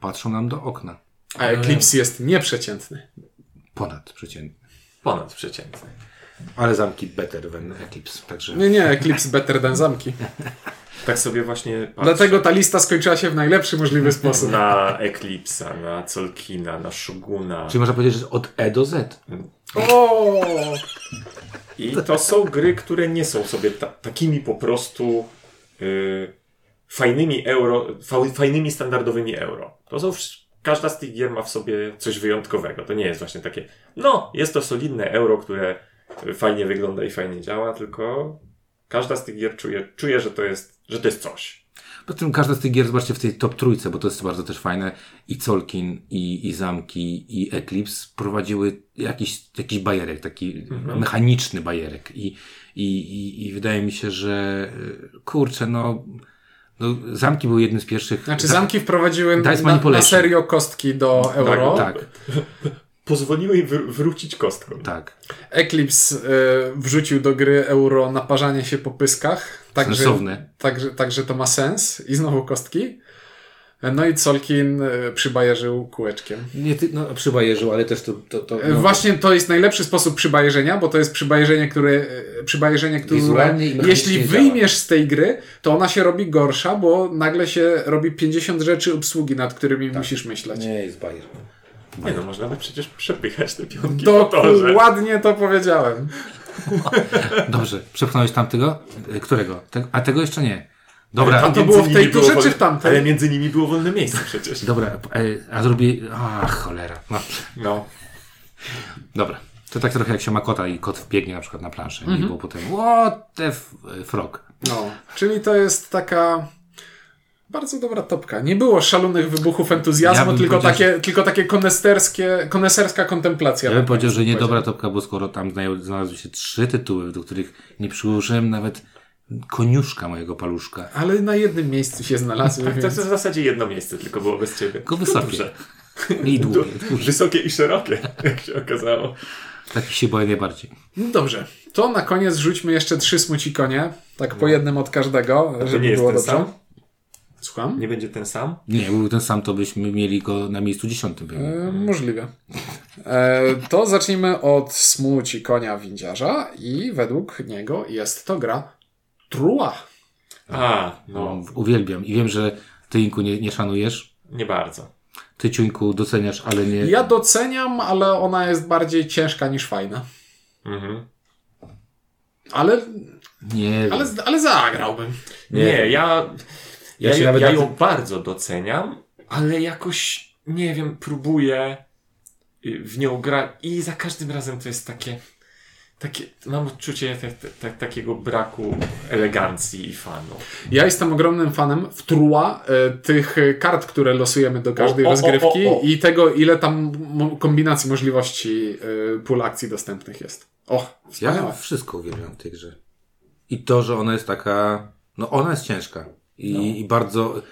A: Patrzą nam do okna.
B: A Eclipse jest nieprzeciętny.
A: Ponad przeciętny.
C: Ponad przeciętny.
A: Ale zamki better than Eclipse. Także...
B: Nie, nie, Eclipse better than zamki.
C: Tak sobie właśnie patrzę
B: Dlatego ta lista skończyła się w najlepszy możliwy
C: <laughs>
B: sposób.
C: na Eclipsa, na Colkina, na Shoguna.
A: Czyli można powiedzieć, że od E do Z.
B: O!
C: I to są gry, które nie są sobie ta, takimi po prostu y, fajnymi euro, fa, fajnymi standardowymi euro. To są wsz- każda z tych gier ma w sobie coś wyjątkowego. To nie jest właśnie takie, no, jest to solidne euro, które y, fajnie wygląda i fajnie działa, tylko każda z tych gier czuje, czuje że, to jest, że to jest coś.
A: Poza tym każda z tych gier, zobaczcie, w tej top trójce, bo to jest bardzo też fajne, i Colkin, i, i Zamki, i Eclipse prowadziły jakiś, jakiś bajerek, taki
B: Mhm.
A: mechaniczny bajerek. I, i, i, I wydaje mi się, że y, kurczę, no, no Zamki były jednym z pierwszych...
B: Znaczy
A: za-
B: zamki wprowadziły
A: Dice
B: na, na
A: Manipulation.
B: serio kostki do euro.
A: Tak,
C: Pozwoliły jej wr- wrócić kostką.
A: tak.
B: Eclipse y, wrzucił do gry euro naparzanie się po pyskach. Także,
A: Sensowne.
B: także, także to ma sens. I znowu kostki. No i Colkin y, przybajerzył kółeczkiem.
A: Nie ty, no przy bajerzu, ale też to... to, to no,
B: Y, Właśnie to jest najlepszy sposób przybajerzenia, bo to jest przybajerzenie, które, y, przybajerzenie, które
A: Wizualnie i mechanicznie
B: jeśli
A: działa.
B: wyjmiesz z tej gry, to ona się robi gorsza, bo nagle się robi 50 rzeczy obsługi, nad którymi musisz myśleć.
A: Tak. Nie, jest bajer.
C: Nie no, można by przecież przepychać te pionki po torze.
B: Dokładnie to powiedziałem.
A: Dobrze, przepchnąłeś tamtego? E, Którego? Te, a tego jeszcze nie. Dobra,
B: tam- to
C: między
B: było w
C: nimi
B: tej turze,
C: wolne-
B: czy w tamtej?
C: Ale między nimi było wolne miejsce przecież.
A: dobra, e, a zrobi... A, cholera. No,
C: No.
A: dobra. To tak trochę jak się ma kota i kot wbiegnie na przykład na planszę i było potem what the f- e, frog.
B: No, czyli to jest taka bardzo dobra topka. Nie było szalonych wybuchów
A: Ja
B: entuzjazmu,
A: bym
B: tylko,
A: powiedział,
B: takie, tylko takie koneserskie, koneserska kontemplacja.
A: Ja bym powiedział, że niedobra topka, bo skoro tam znaj- znalazły się trzy tytuły, do których nie przyłożyłem nawet koniuszka mojego paluszka.
B: Ale na jednym miejscu się
A: <laughs>
B: znalazły.
C: To jest
B: więc...
C: w zasadzie jedno miejsce tylko było bez ciebie.
A: Tylko
C: Duże.
A: wysokie. I długie.
C: Wysokie i szerokie, jak się okazało.
A: Takich się boję najbardziej.
B: No dobrze, to na koniec rzućmy jeszcze trzy smucikonie. Tak po jednym od każdego, żeby
C: nie jest
B: było
C: ten
B: dobrze.
C: sam?
B: Słucham?
C: Nie będzie ten sam?
A: Nie, był ten sam, to byśmy mieli go na miejscu dziesiątym. pewnie.
B: E, możliwe. E, to zacznijmy od smuci konia windziarza i według niego jest to gra Trua.
C: A, no,
A: Uwielbiam i wiem, że ty Inku nie, nie szanujesz,
C: nie bardzo.
A: ty Ciuńku doceniasz, ale nie...
B: Ja doceniam, ale ona jest bardziej ciężka niż fajna.
C: Mhm.
B: Ale,
A: Nie
B: ale,
A: wiem.
B: ale zagrałbym.
C: Nie, ja, ja,
A: Ja ci
C: ja,
A: nawet na
C: ją bardzo doceniam, ale jakoś, nie wiem, próbuję y, w nią grać i za każdym razem to jest takie, takie mam odczucie te, te, te, takiego braku elegancji i fanu.
B: Ja jestem ogromnym fanem w Trua e, tych e, kart, które losujemy do każdej
C: O, o, o,
B: rozgrywki
C: o, o.
B: i tego, ile tam mo- kombinacji możliwości e, pól akcji dostępnych jest. O,
A: Ja
B: wspaniałe.
A: wszystko uwielbiam w tej grze. I to, że ona jest taka... No ona jest ciężka. I, i bardzo...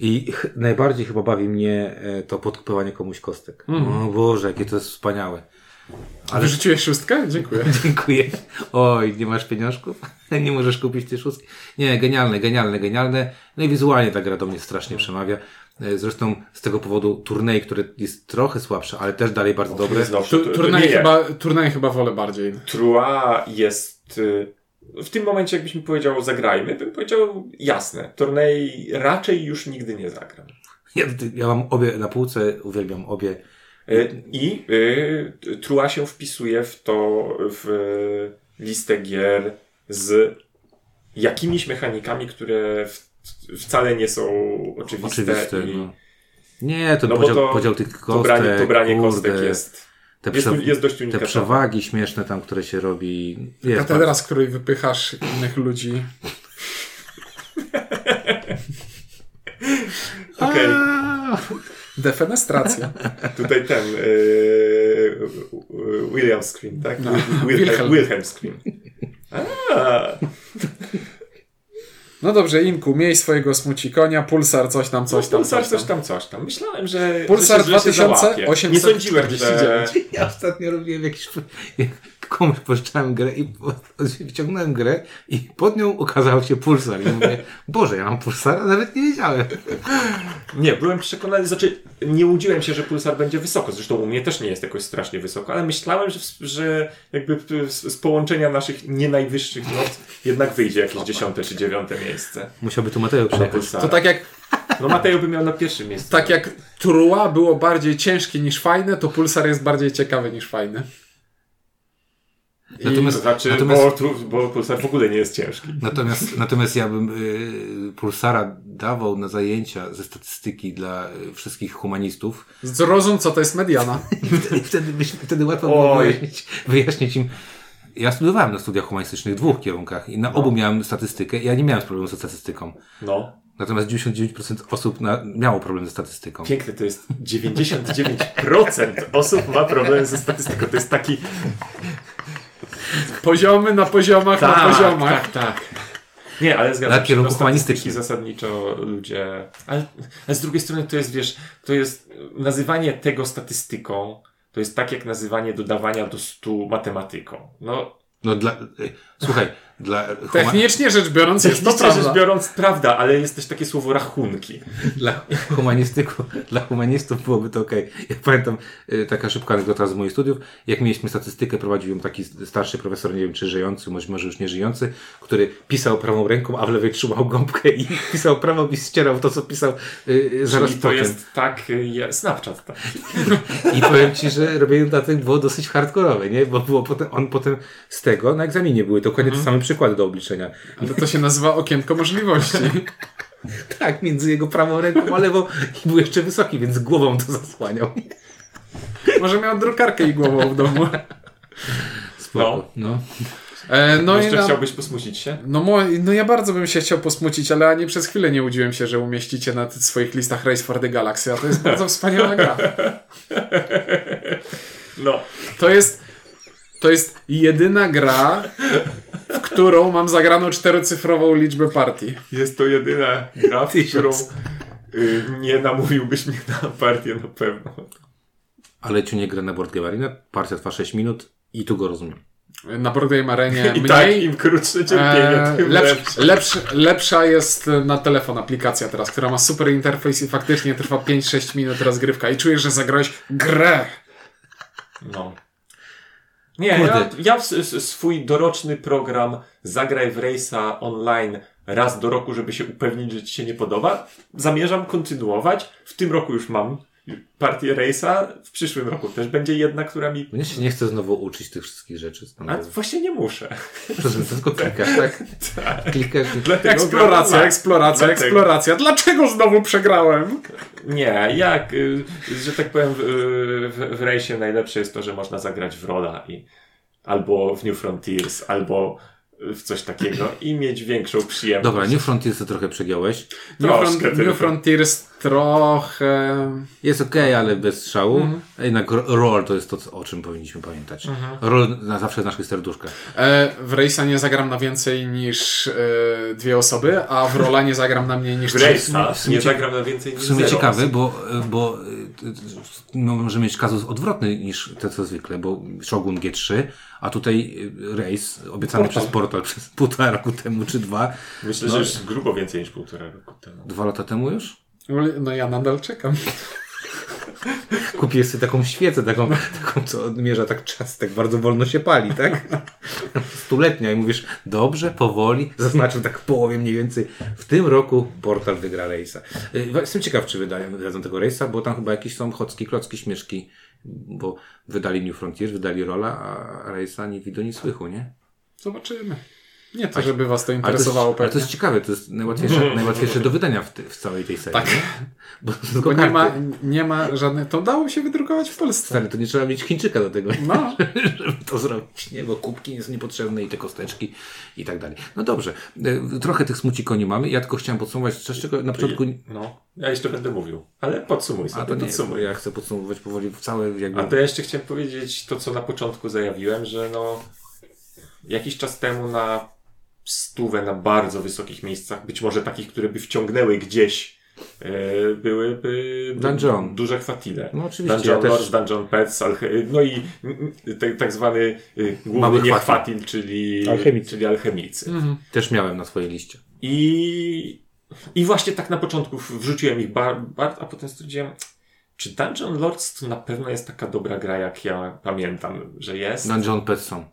A: I ch- najbardziej chyba bawi mnie e, to podkupywanie komuś kostek. O Boże, jakie to jest wspaniałe. <laughs> ale-
B: Wyrzuciłeś szóstkę? Dziękuję.
A: Dziękuję. Oj, nie masz pieniążków? <laughs> Nie możesz kupić tej szóstki? Nie, genialne, genialne, genialne. No i wizualnie ta gra do mnie strasznie przemawia. E, Zresztą z tego powodu turniej, który jest trochę słabszy, ale też dalej bardzo dobry.
C: Znowu,
B: Tu,
C: <laughs> to-
B: turnej,
C: nie, nie.
B: chyba, turnej chyba wolę bardziej.
C: Trua jest. y, W tym momencie, jakbyś mi powiedział, zagrajmy, bym powiedział jasne. Turniej raczej już nigdy nie zagram.
A: Ja, ja mam obie na półce, uwielbiam obie.
C: Y, I y, Trua się wpisuje w to, w y, listę gier z jakimiś mechanikami, które w, wcale nie są oczywiste.
A: Oczywiste.
C: i,
A: No. Nie, to
C: No bo
A: podział,
C: to-
A: podział tych kostek.
C: to branie, to branie kostek
A: kurde,
C: jest,
A: Te,
C: jest,
A: przew-
C: jest dość
A: te
C: unikatowe.
A: przewagi śmieszne tam, które się robi. Jest
B: Katedra, z której wypychasz innych ludzi.
C: Okej.
A: Aaa!
B: <laughs> Defenestracja.
C: Tutaj ten yy, William Scream, tak?
B: No. Wilhelm.
C: Wilhelm, Wilhelm Scream. A,
B: No dobrze, Inku, miej swojego smuci konia, pulsar, coś tam, coś tam.
C: No, Pulsar coś tam, coś tam. Myślałem, że.
B: Pulsar
C: że się, że się załapie. Nie sądziłem, że.
B: 2849.
A: <laughs> Ja ostatnio robiłem jakiś. jak Komuś pożyczałem grę i po- wyciągnąłem grę i pod nią okazał się pulsar. I mówię, <laughs> Boże, ja mam pulsara, nawet nie wiedziałem.
C: Nie, byłem przekonany, znaczy nie łudziłem się, że pulsar będzie wysoko. Zresztą u mnie też nie jest jakoś strasznie wysoko, ale myślałem, że, w- że jakby p- z, z połączenia naszych nie najwyższych not jednak wyjdzie jakieś dziesiąte czy dziewiąte miejsce.
A: Musiałby tu Mateusz
C: dla
A: przyjechać.
C: Pulsara.
B: To tak jak,
C: No Mateo by miał na pierwszym miejscu.
B: tak jak Trua było bardziej ciężkie niż fajne, to pulsar jest bardziej ciekawy niż fajny.
A: Natomiast-
C: To znaczy,
A: natomiast-
C: bo, tu- bo pulsar w ogóle nie jest ciężki.
A: Natomiast, natomiast ja bym y, pulsara dawał na zajęcia ze statystyki dla y, wszystkich humanistów.
B: Zrozum, co to jest mediana.
A: I wtedy, wtedy, byś, wtedy łatwo było
C: Oj.
A: wyjaśnić, wyjaśnić im. Ja studiowałem na studiach humanistycznych w dwóch kierunkach i na obu miałem statystykę. Ja nie miałem problemu ze statystyką.
C: No.
A: Natomiast 99% osób na, miało problem ze statystyką.
C: Piękne to jest. 99% osób ma problem ze statystyką. To jest taki.
B: Poziomy na poziomach na poziomach.
C: tak, tak. Nie, ale zgadzam
A: Na kierunku
C: no,
A: humanistycznym.
C: statystyki zasadniczo ludzie. Ale, ale z drugiej strony to jest, wiesz, to jest nazywanie tego statystyką. To jest tak jak nazywanie dodawania do stu matematyką. No,
A: No dla, Słuchaj, dla huma-
B: Technicznie rzecz biorąc jest to
C: Technicznie
B: prawda.
C: rzecz biorąc, prawda, ale jest też takie słowo rachunki.
A: Dla, humanistyku, dla humanistów byłoby to ok. Ja pamiętam y, taka szybka anegdota z moich studiów. Jak mieliśmy statystykę, prowadził ją taki starszy profesor, nie wiem czy żyjący, może, może już nie żyjący, który pisał prawą ręką, a w lewej trzymał gąbkę i pisał prawą i ścierał to, co pisał y, zaraz
C: Czyli to
A: potem.
C: jest tak, y, ja- Snapchat. Tak.
A: I powiem Ci, że robienie notatek było dosyć hardkorowe, nie? Bo było potem, on potem z tego na egzaminie były dokładnie
C: Mhm.
A: te same przykłady do obliczenia.
B: Ale to się nazywa okienko możliwości.
A: Tak, między jego prawą ręką a lewą i był jeszcze wysoki, więc głową to zasłaniał.
C: No.
B: Może miał drukarkę i głową w domu.
A: Spoko. No.
B: E, no i
C: Jeszcze
B: na...
C: chciałbyś posmucić się?
B: No, mo... no ja bardzo bym się chciał posmucić, ale ani przez chwilę nie łudziłem się, że umieścicie na tych swoich listach Race for the Galaxy, a to jest bardzo wspaniała gra.
C: No.
B: To jest, to jest jedyna gra, w którą mam zagraną czterocyfrową liczbę partii.
C: Jest to jedyna gra, w
A: Tysiąc.
C: którą y, nie namówiłbyś mnie na partię na pewno.
A: Ale ciu nie gra na Board Game Arena, partia trwa 6 minut i tu go rozumiem.
B: Na Broadgame Arenie
C: I
B: mniej,
C: tak, im krótsze <laughs> cierpienie,
B: e,
C: tym
B: lepsz,
C: Eee, lepsze.
B: lepsz, lepsza jest na telefon aplikacja teraz, która ma super interfejs i faktycznie trwa 5-6 minut rozgrywka i czujesz, że zagrałeś grę.
C: No. Nie,
A: Kurde.
C: ja, ja w s- s- swój doroczny program Zagraj w Rejsa online raz do roku, żeby się upewnić, że ci się nie podoba, zamierzam kontynuować. W tym roku już mam partię Rejsa, w przyszłym roku też będzie jedna, która mi...
A: Mnie się nie chce znowu uczyć tych wszystkich rzeczy.
C: A
A: Znowu.
C: właśnie nie muszę.
A: Przez to tylko klikasz, tak? Klikasz.
C: <laughs> Dlatego
B: Eksploracja,
C: gram-
B: eksploracja,
C: Dlatego.
B: eksploracja. Dlaczego znowu przegrałem?
C: Nie, jak, y, że tak powiem, w, w, w Rejsie najlepsze jest to, że można zagrać w Rola i albo w New Frontiers, albo w coś takiego i mieć większą przyjemność.
A: Dobra, New Frontiers to trochę przegiąłeś.
B: New,
C: Troszkę
B: Front,
C: tylko.
B: New Frontiers trochę...
A: Jest okej, ale bez strzału.
C: Mhm.
A: Jednak ro- roll to jest to, co- o czym powinniśmy pamiętać. Roll na zawsze w naszych serduszkach.
B: E, w Rejsa nie zagram na więcej niż e, dwie osoby, a w Rola nie zagram na mniej niż
C: W
B: trzy.
C: Rejsa
A: sumie
C: nie
A: cie-
C: zagram na więcej niż
A: W sumie
C: zero
A: ciekawe,
C: osób.
A: bo, bo y, y, no, możemy mieć kazus odwrotny niż te co zwykle, bo Shogun G3, a tutaj y, rejs obiecany
B: Portal.
A: przez portal <laughs> przez półtora roku temu czy dwa.
C: Myślę,
A: No.
C: że już grubo więcej niż półtora roku temu.
A: Dwa lata temu już?
B: No ja nadal czekam.
A: Kupię sobie taką świecę, taką, taką co odmierza tak czas, tak bardzo wolno się pali, tak? Stuletnia i mówisz, dobrze, powoli, zaznaczył tak w połowie mniej więcej. W tym roku portal wygra rejsa. Y, Jestem ciekaw, czy wydają, wydadzą tego rejsa, bo tam chyba jakieś są chocki, klocki, śmieszki, bo wydali New Frontier, wydali Rola, a rejsa nie widu, nie słychu, nie?
B: Zobaczymy. Nie to, żeby was to
A: Ale to, jest,
B: interesowało
A: ale to
B: pewnie.
A: jest ciekawe, to jest
B: <laughs>
A: najłatwiejsze, najłatwiejsze do wydania w, ty, w całej tej serii.
B: Tak.
A: nie? Bo, tylko
B: Bo nie
A: karty.
B: ma, nie ma żadnych... To dało się wydrukować w Polsce.
A: Stary, to nie trzeba mieć Chińczyka do tego.
B: No.
A: żeby to zrobić, nie? Bo kubki nie są niepotrzebne i te kosteczki i tak dalej. No dobrze, e, trochę tych smucikoni mamy. Ja tylko chciałem podsumować, z czego na początku...
C: No, ja jeszcze będę mówił, ale podsumuj sobie,
A: A to nie, bo
C: podsumuj.
A: ja chcę podsumować powoli całe jakby...
C: A to ja jeszcze chciałem powiedzieć to, co na początku zajawiłem, że no jakiś czas temu na stówę na bardzo wysokich miejscach, być może takich, które by wciągnęły gdzieś, yy, byłyby du-
A: Dungeon.
C: duże kwatile.
A: No oczywiście,
C: Dungeon
A: ja też-
C: Lords, Dungeon Pets, alche- no i mm, mm, tak- tak zwany y, główny
A: Mały
C: niechwatil, czyli
A: Alchemicy.
C: Czyli alchemicy.
A: Też miałem na swojej liście.
C: I, I właśnie tak na początku wrzuciłem ich bar, bar a potem stwierdziłem, czy Dungeon Lords to na pewno jest taka dobra gra, jak ja pamiętam, że jest.
A: Dungeon Pets są,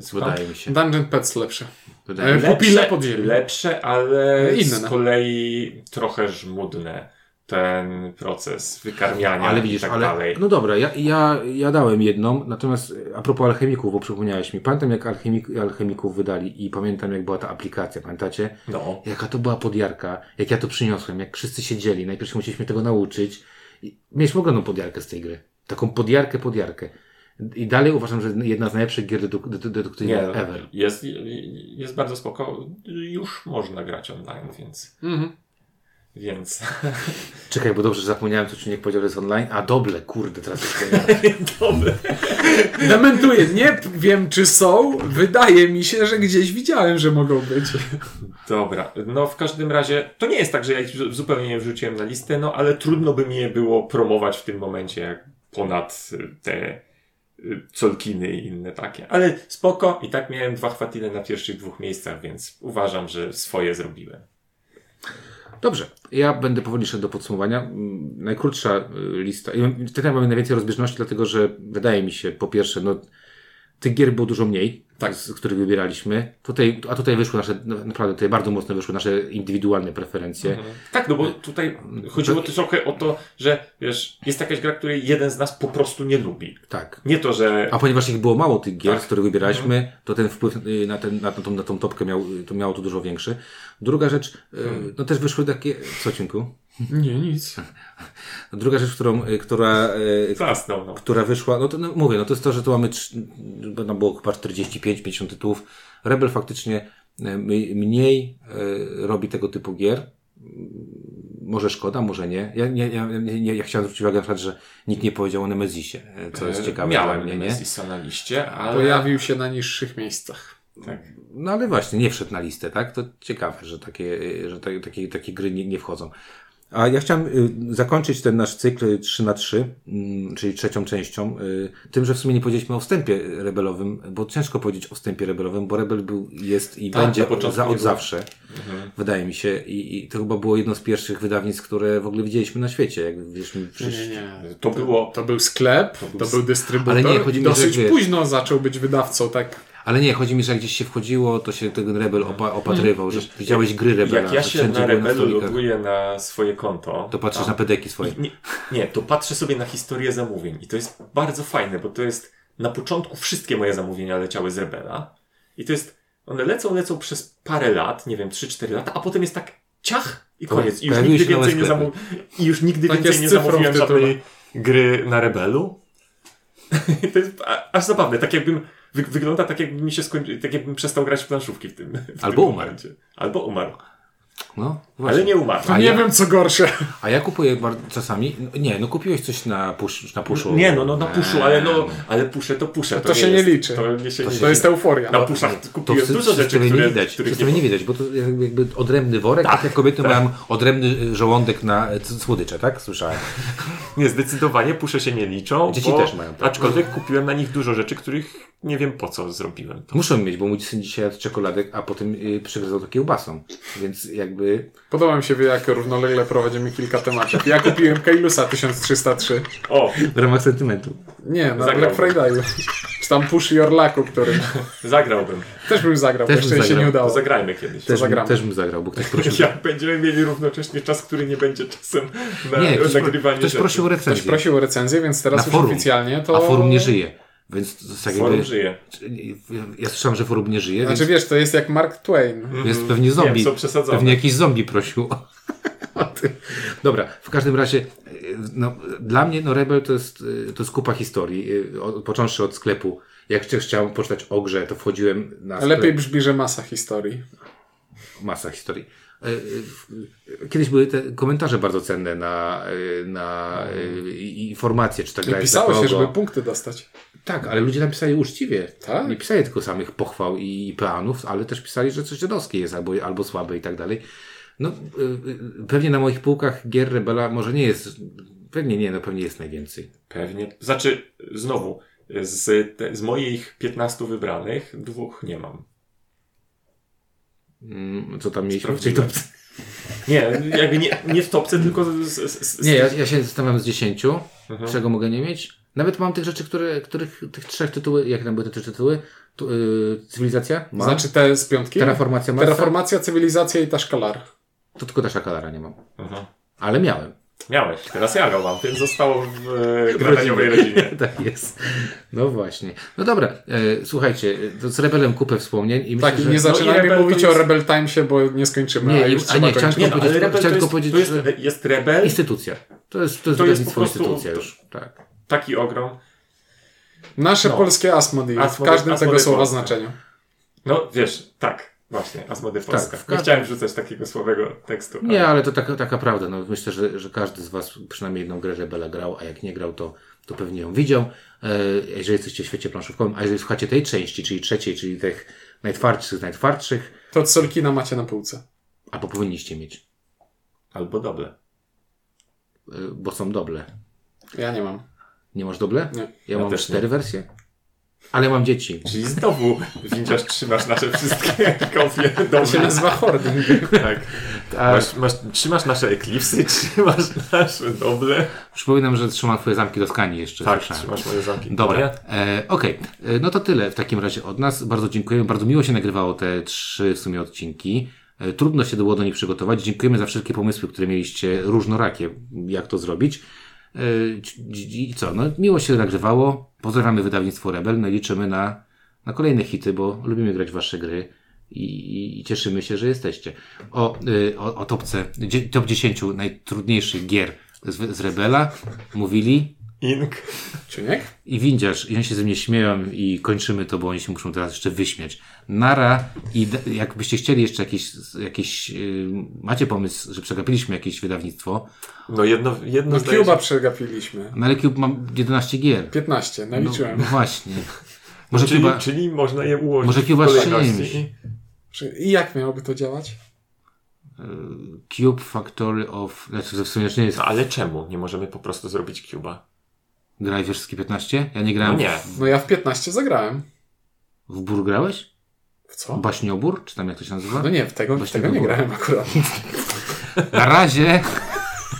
C: Słucham?
A: No, wydaje mi się.
B: Dungeon Pets lepsze.
A: Wydaje mi się.
B: Le- Pupile podzieli.
C: Lepsze, ale
B: Inne. no.
C: z kolei trochę żmudne ten proces wykarmiania
A: Ale widzisz,
C: i tak
A: ale...
C: dalej.
A: No dobra, ja, ja, ja dałem jedną, natomiast e, a propos alchemików, bo przypomniałeś mi. Pamiętam jak alchemik, alchemików wydali i pamiętam jak była ta aplikacja, pamiętacie?
C: No.
A: Jaka to była podjarka, jak ja to przyniosłem, jak wszyscy siedzieli, najpierw się musieliśmy tego nauczyć. I mieliśmy ogromną podjarkę z tej gry. Taką podjarkę, podjarkę. I dalej uważam, że jedna z najlepszych gier deduk- dedu- deduktywnych
C: Nie,
A: ever.
C: jest, jest bardzo spoko. Już można grać online, więc.
B: Mhm.
C: więc...
A: Czekaj, bo dobrze, że zapomniałem, co Czuniek powiedział, że jest online. A doble, kurde, teraz już pamiętam.
C: Dobra.
B: Dementuję. Nie p- wiem, czy są. Wydaje mi się, że gdzieś widziałem, że mogą być.
C: Dobra, no w każdym razie to nie jest tak, że ja ich zu- zupełnie nie wrzuciłem na listę, no ale trudno by mi je było promować w tym momencie jak ponad y, te y, Colkiny i inne takie. Ale spoko, i tak miałem dwa chwatile na pierwszych dwóch miejscach, więc uważam, że swoje zrobiłem.
A: Dobrze, ja będę powoli szedł do podsumowania. Mm, Najkrótsza y, lista. i mam- Tutaj mamy najwięcej rozbieżności, dlatego że wydaje mi się, po pierwsze, no, tych gier było dużo mniej,
B: Tak.
A: z których wybieraliśmy. Tutaj, a tutaj wyszły nasze, no, naprawdę tutaj bardzo mocno wyszły nasze indywidualne preferencje.
C: Tak, no bo tutaj chodziło też trochę o to, że wiesz, jest jakaś gra, której jeden z nas po prostu nie lubi.
A: Tak.
C: Nie to, że
A: A ponieważ ich było mało tych gier,
C: Tak.
A: z których wybieraliśmy, to ten wpływ y, na, ten, na, tą, na tą topkę miał, y, to miało to dużo większy. Druga rzecz, y, no też wyszły takie... Co, Cienku?
B: Nie, nic.
A: Druga rzecz, którą, y, która, y,
C: zasnął. No.
A: która wyszła, no to no, mówię, no to jest to, że tu mamy, trz- no było chyba 45-50 tytułów. Rebel faktycznie y, m- mniej y, robi tego typu gier. Mm, Może szkoda, może nie. Ja, nie, ja, nie, nie- ja chciałem zwrócić uwagę na przykład, że nikt nie powiedział o Nemezisie, y, co jest
C: E,
A: ciekawe
C: Miałem
A: dla mnie, nie?
C: Nemesisa na liście, ale
B: Pojawił się na niższych miejscach.
C: tak.
A: No ale właśnie, nie wszedł na listę, tak? To ciekawe, że takie, y, że ta- takie, takie gry nie, nie wchodzą. A ja chciałem y, zakończyć ten nasz cykl 3 na 3 mm, czyli trzecią częścią, y, tym, że w sumie nie powiedzieliśmy o wstępie rebelowym, bo ciężko powiedzieć o wstępie rebelowym, bo rebel był, jest i
C: Tak,
A: będzie
C: na początku Mhm.
A: za
C: nie
A: od
C: było.
A: zawsze, wydaje mi się. I, I to chyba było jedno z pierwszych wydawnictw, które w ogóle widzieliśmy na świecie. Jak widzieliśmy,
B: Nie, nie,
A: wszyscy-
B: nie.
C: To było-
B: To był sklep, to był, dystrybutor.
A: Ale nie, chodzi
B: i
A: mi, że
B: dosyć
A: wiesz-
B: późno zaczął być wydawcą, tak.
A: Ale nie, chodzi mi, że jak gdzieś się wchodziło, to się ten rebel opa- opatrywał, że widziałeś gry rebela.
C: Mhm. Jak ja
A: że
C: się
A: wszędzie
C: na
A: były na
C: Rebelu
A: stolikach.
C: loguję na swoje konto,
A: To patrzysz
C: tam-
A: na pedeki swoje.
C: Nie, nie, to patrzę sobie na historię zamówień i to jest bardzo fajne, bo to jest na początku wszystkie moje zamówienia leciały z Rebela i to jest, one lecą, lecą przez parę lat, nie wiem, 3-4 lata, a potem jest tak ciach i
A: To
C: koniec. I już
A: pojawiły
C: nigdy
A: się nowe
C: więcej nie,
A: sklepy.
C: zamówiłem, i już nigdy
B: Tak
C: więcej
B: jest
C: nie
B: z cyfrą w
C: zamówiłem
B: tytule.
C: żadnej gry na Rebelu. <laughs> to jest a- aż zabawne, tak jakbym, wy, wygląda tak jakby mi się skończył, tak jakbym przestał grać w planszówki w tym w
A: Albo
C: tym
A: umarł.
C: momencie. Albo umarł.
A: No, właśnie.
C: Ale nie umarł.
B: To nie wiem, co gorsze.
A: A ja kupuję bar- czasami. no Nie, no kupiłeś coś na, push, na puszu. Eee.
C: Nie, no, no na puszu, ale no, ale puszę to puszę.
B: No to się nie
C: jest-
B: liczy.
C: To, nie się nie
B: To
A: No.
B: jest euforia.
C: Na puszach
A: To
C: kupiłem
A: w
C: dużo rzeczy,
A: przedstawieniu
C: które,
A: nie widać.
C: których
A: Przedstawienie nie widać, bo to jakby jakby odrębny worek, tak, jak kobiety mają odrębny żołądek na e, c- słodycze, tak? Słyszałem.
C: Nie, zdecydowanie pusze się nie liczą.
A: Dzieci
C: bo,
A: też mają tak.
C: Aczkolwiek kupiłem na nich dużo rzeczy, których nie wiem po co zrobiłem. To.
A: Muszą mieć, bo mój syn dzisiaj jadł czekoladek, a potem y, przygryzał to kiełbasą. Więc jakby...
B: Podoba mi się, wy, jak równolegle prowadzimy kilka tematów. Ja kupiłem Kailusa 1303.
C: O,
A: W ramach sentymentu.
B: Nie, na
C: Zagrał.
B: Black Friday. Czy tam Push Your Lucku, który
C: zagrałbym.
B: też bym zagrał,
A: Też
B: bo jeszcze
A: bym
B: się nie
A: zagrał.
C: To
B: udało.
C: zagrajmy kiedyś.
A: Też, bym-
B: zagramy.
A: też bym zagrał, bo <laughs> ktoś prosił.
C: Jak będziemy mieli równocześnie czas, który nie będzie czasem na
A: Nie, ktoś, pro-
C: nagrywanie
A: ktoś
C: rzeczy.
A: prosił o
B: Ktoś
A: recenzję.
B: prosił o recenzję, więc teraz
A: na
B: już
A: forum.
B: oficjalnie to...
A: A forum nie żyje. Więc to jest tak
C: Forum
A: jakby...
C: żyje.
A: Ja słyszałem, że forum nie żyje,
B: Znaczy wiesz, to jest jak Mark Twain.
A: więc, więc pewnie zombie.
C: Wiem, są przesadzone.
A: Pewnie jakiś zombie prosił. o- o tym. Dobra, w każdym razie y, no, dla mnie no, Rebel to jest, y, to jest kupa historii. y, Od, począwszy od sklepu. Jak chcia- chciałem poczytać o grze, to wchodziłem na sklep.
B: Lepiej brzmi, że masa historii.
A: Masa historii. Y, y, y, Kiedyś były te komentarze bardzo cenne na, y, na y, i- informacje, czy ta gra
B: I
A: jest dla
B: pisało się,
A: kogo.
B: żeby punkty dostać.
A: Tak, ale ludzie napisali uczciwie.
B: Tak?
A: Nie pisali tylko samych pochwał i, i peanów, ale też pisali, że coś żydowskie jest albo, albo słabe i tak dalej. No, y, y, pewnie na moich półkach gier Rebela może nie jest, pewnie nie, no pewnie jest najwięcej.
C: Pewnie. Znaczy, znowu, z, te, z moich 15 wybranych, dwóch nie mam.
A: Mm, Co tam mieliśmy w tej
C: Sprawdziłem.
A: topce?
C: Nie, jakby nie, nie w topce, tylko z, z, z, z
A: Nie, ja, ja się zastanawiam z 10,
C: Mhm.
A: czego mogę nie mieć. Nawet mam tych rzeczy, które, których, tych trzech tytuły, jakie tam były te trzy tytuły? Tu, y, cywilizacja? Ma.
B: Znaczy te z piątki?
A: Terraformacja Marsa?
B: Terraformacja, cywilizacja i ta szkalar.
A: To tylko Dasha Kalara nie mam.
C: Mhm.
A: Ale miałem.
C: Miałeś, teraz ja go mam, więc zostało w e,
A: <laughs>
C: gradaniowej rodzinie.
A: tak jest. No właśnie. No dobra, e, słuchajcie, e, to z Rebelem kupę wspomnień i myślę,
B: Tak, i
A: że...
B: nie
C: za- i
B: zaczynajmy
C: Rebel to
B: mówić
C: jest-
B: o Rebel Timesie, bo nie skończymy,
A: Nie,
B: a już
A: a
B: trzeba
A: nie, chciałem tylko
B: kończyć.
C: Nie, no, ale
A: powiedzieć-
C: rebel to
A: chciałem
C: jest,
A: tylko
C: to
A: powiedzieć,
C: jest,
A: że-
C: jest rebel,
A: Instytucja. To jest, to jest,
C: To jest
A: wydawnictwo
C: po prostu-
A: instytucja
C: to-
A: już. Tak.
C: taki ogrom.
B: Nasze
C: No.
B: polskie Asmodee, w
C: Asmodee-
B: każdym tego
C: Asmodee
B: słowa
C: Polska.
B: znaczeniu.
C: No wiesz, tak, właśnie, Asmody Polska.
A: w
C: Nie
A: każdym-
C: chciałem rzucać takiego słabego tekstu. ale-
A: Nie, ale to taka, taka prawda. No, myślę, że, że każdy z Was przynajmniej jedną grę Rebela grał, a jak nie grał, to, to pewnie ją widział. E, jeżeli jesteście w świecie planszówkowym, a jeżeli słuchacie tej części, czyli trzeciej, czyli tych najtwardszych z najtwardszych,
B: To od Solkina macie na półce.
A: albo powinniście mieć,
C: Albo doble.
A: e, bo są doble. <laughs>
B: Ja nie mam.
A: Nie masz doble?
B: Nie.
A: Ja,
C: Ja
A: mam
C: też
A: cztery
C: nie.
A: wersje. Ale mam dzieci.
C: Czyli znowu widzisz, trzymasz nasze wszystkie <laughs> kopie
B: To się
C: dobre.
B: nazywa hoarding.
C: Tak.
A: <laughs> A
C: Masz, masz, trzymasz nasze eklipsy, <laughs> trzymasz nasze doble.
A: przypominam, że trzymam twoje zamki do skani jeszcze.
C: Tak,
A: słyszałem.
C: trzymasz moje zamki.
A: Dobra,
C: Moje?
A: e, okej. E, No to tyle w takim razie od nas. Bardzo dziękujemy. Bardzo miło się nagrywało te trzy w sumie odcinki. E, trudno się było do nich przygotować. Dziękujemy za wszelkie pomysły, które mieliście różnorakie, jak to zrobić. E, c- I co? No, miło się nagrywało. Pozdrawiamy wydawnictwo Rebel. No i liczymy na, na kolejne hity, bo lubimy grać w wasze gry. I, i- I cieszymy się, że jesteście. O, e, o, o topce, dzie- top 10 najtrudniejszych gier z, z Rebela mówili
C: Ink.
B: Czuniek?
A: i windziarz, i oni się ze mnie śmieją i kończymy to, bo oni się muszą teraz jeszcze wyśmiać. Nara i d- jakbyście chcieli jeszcze jakieś, jakieś yy, macie pomysł, że przegapiliśmy jakieś wydawnictwo,
C: No jedno, jedno
B: No
C: zdaje się-
B: Cuba przegapiliśmy.
A: na Lekub mam 11 gier.
B: 15,
A: No,
B: naliczyłem.
A: no właśnie. Może
C: No, czyli,
A: chyba...
C: czyli można je ułożyć
A: Może
C: w
A: Cuba z
C: kolejności.
A: czymś.
B: I jak miałoby to działać?
A: Cube Factory of... Znaczy, to w sumie już nie jest...
C: No ale czemu? Nie możemy po prostu zrobić Cuba.
A: Grałeś we wszystkie 15? Ja nie grałem.
C: No nie.
B: No ja w 15 zagrałem.
A: W Bur grałeś?
B: W co?
A: Baśniobór? Czy tam jak to się nazywa?
B: No nie, w No tego, w
A: Właśnie
B: tego nie
A: było.
B: grałem akurat.
A: Na razie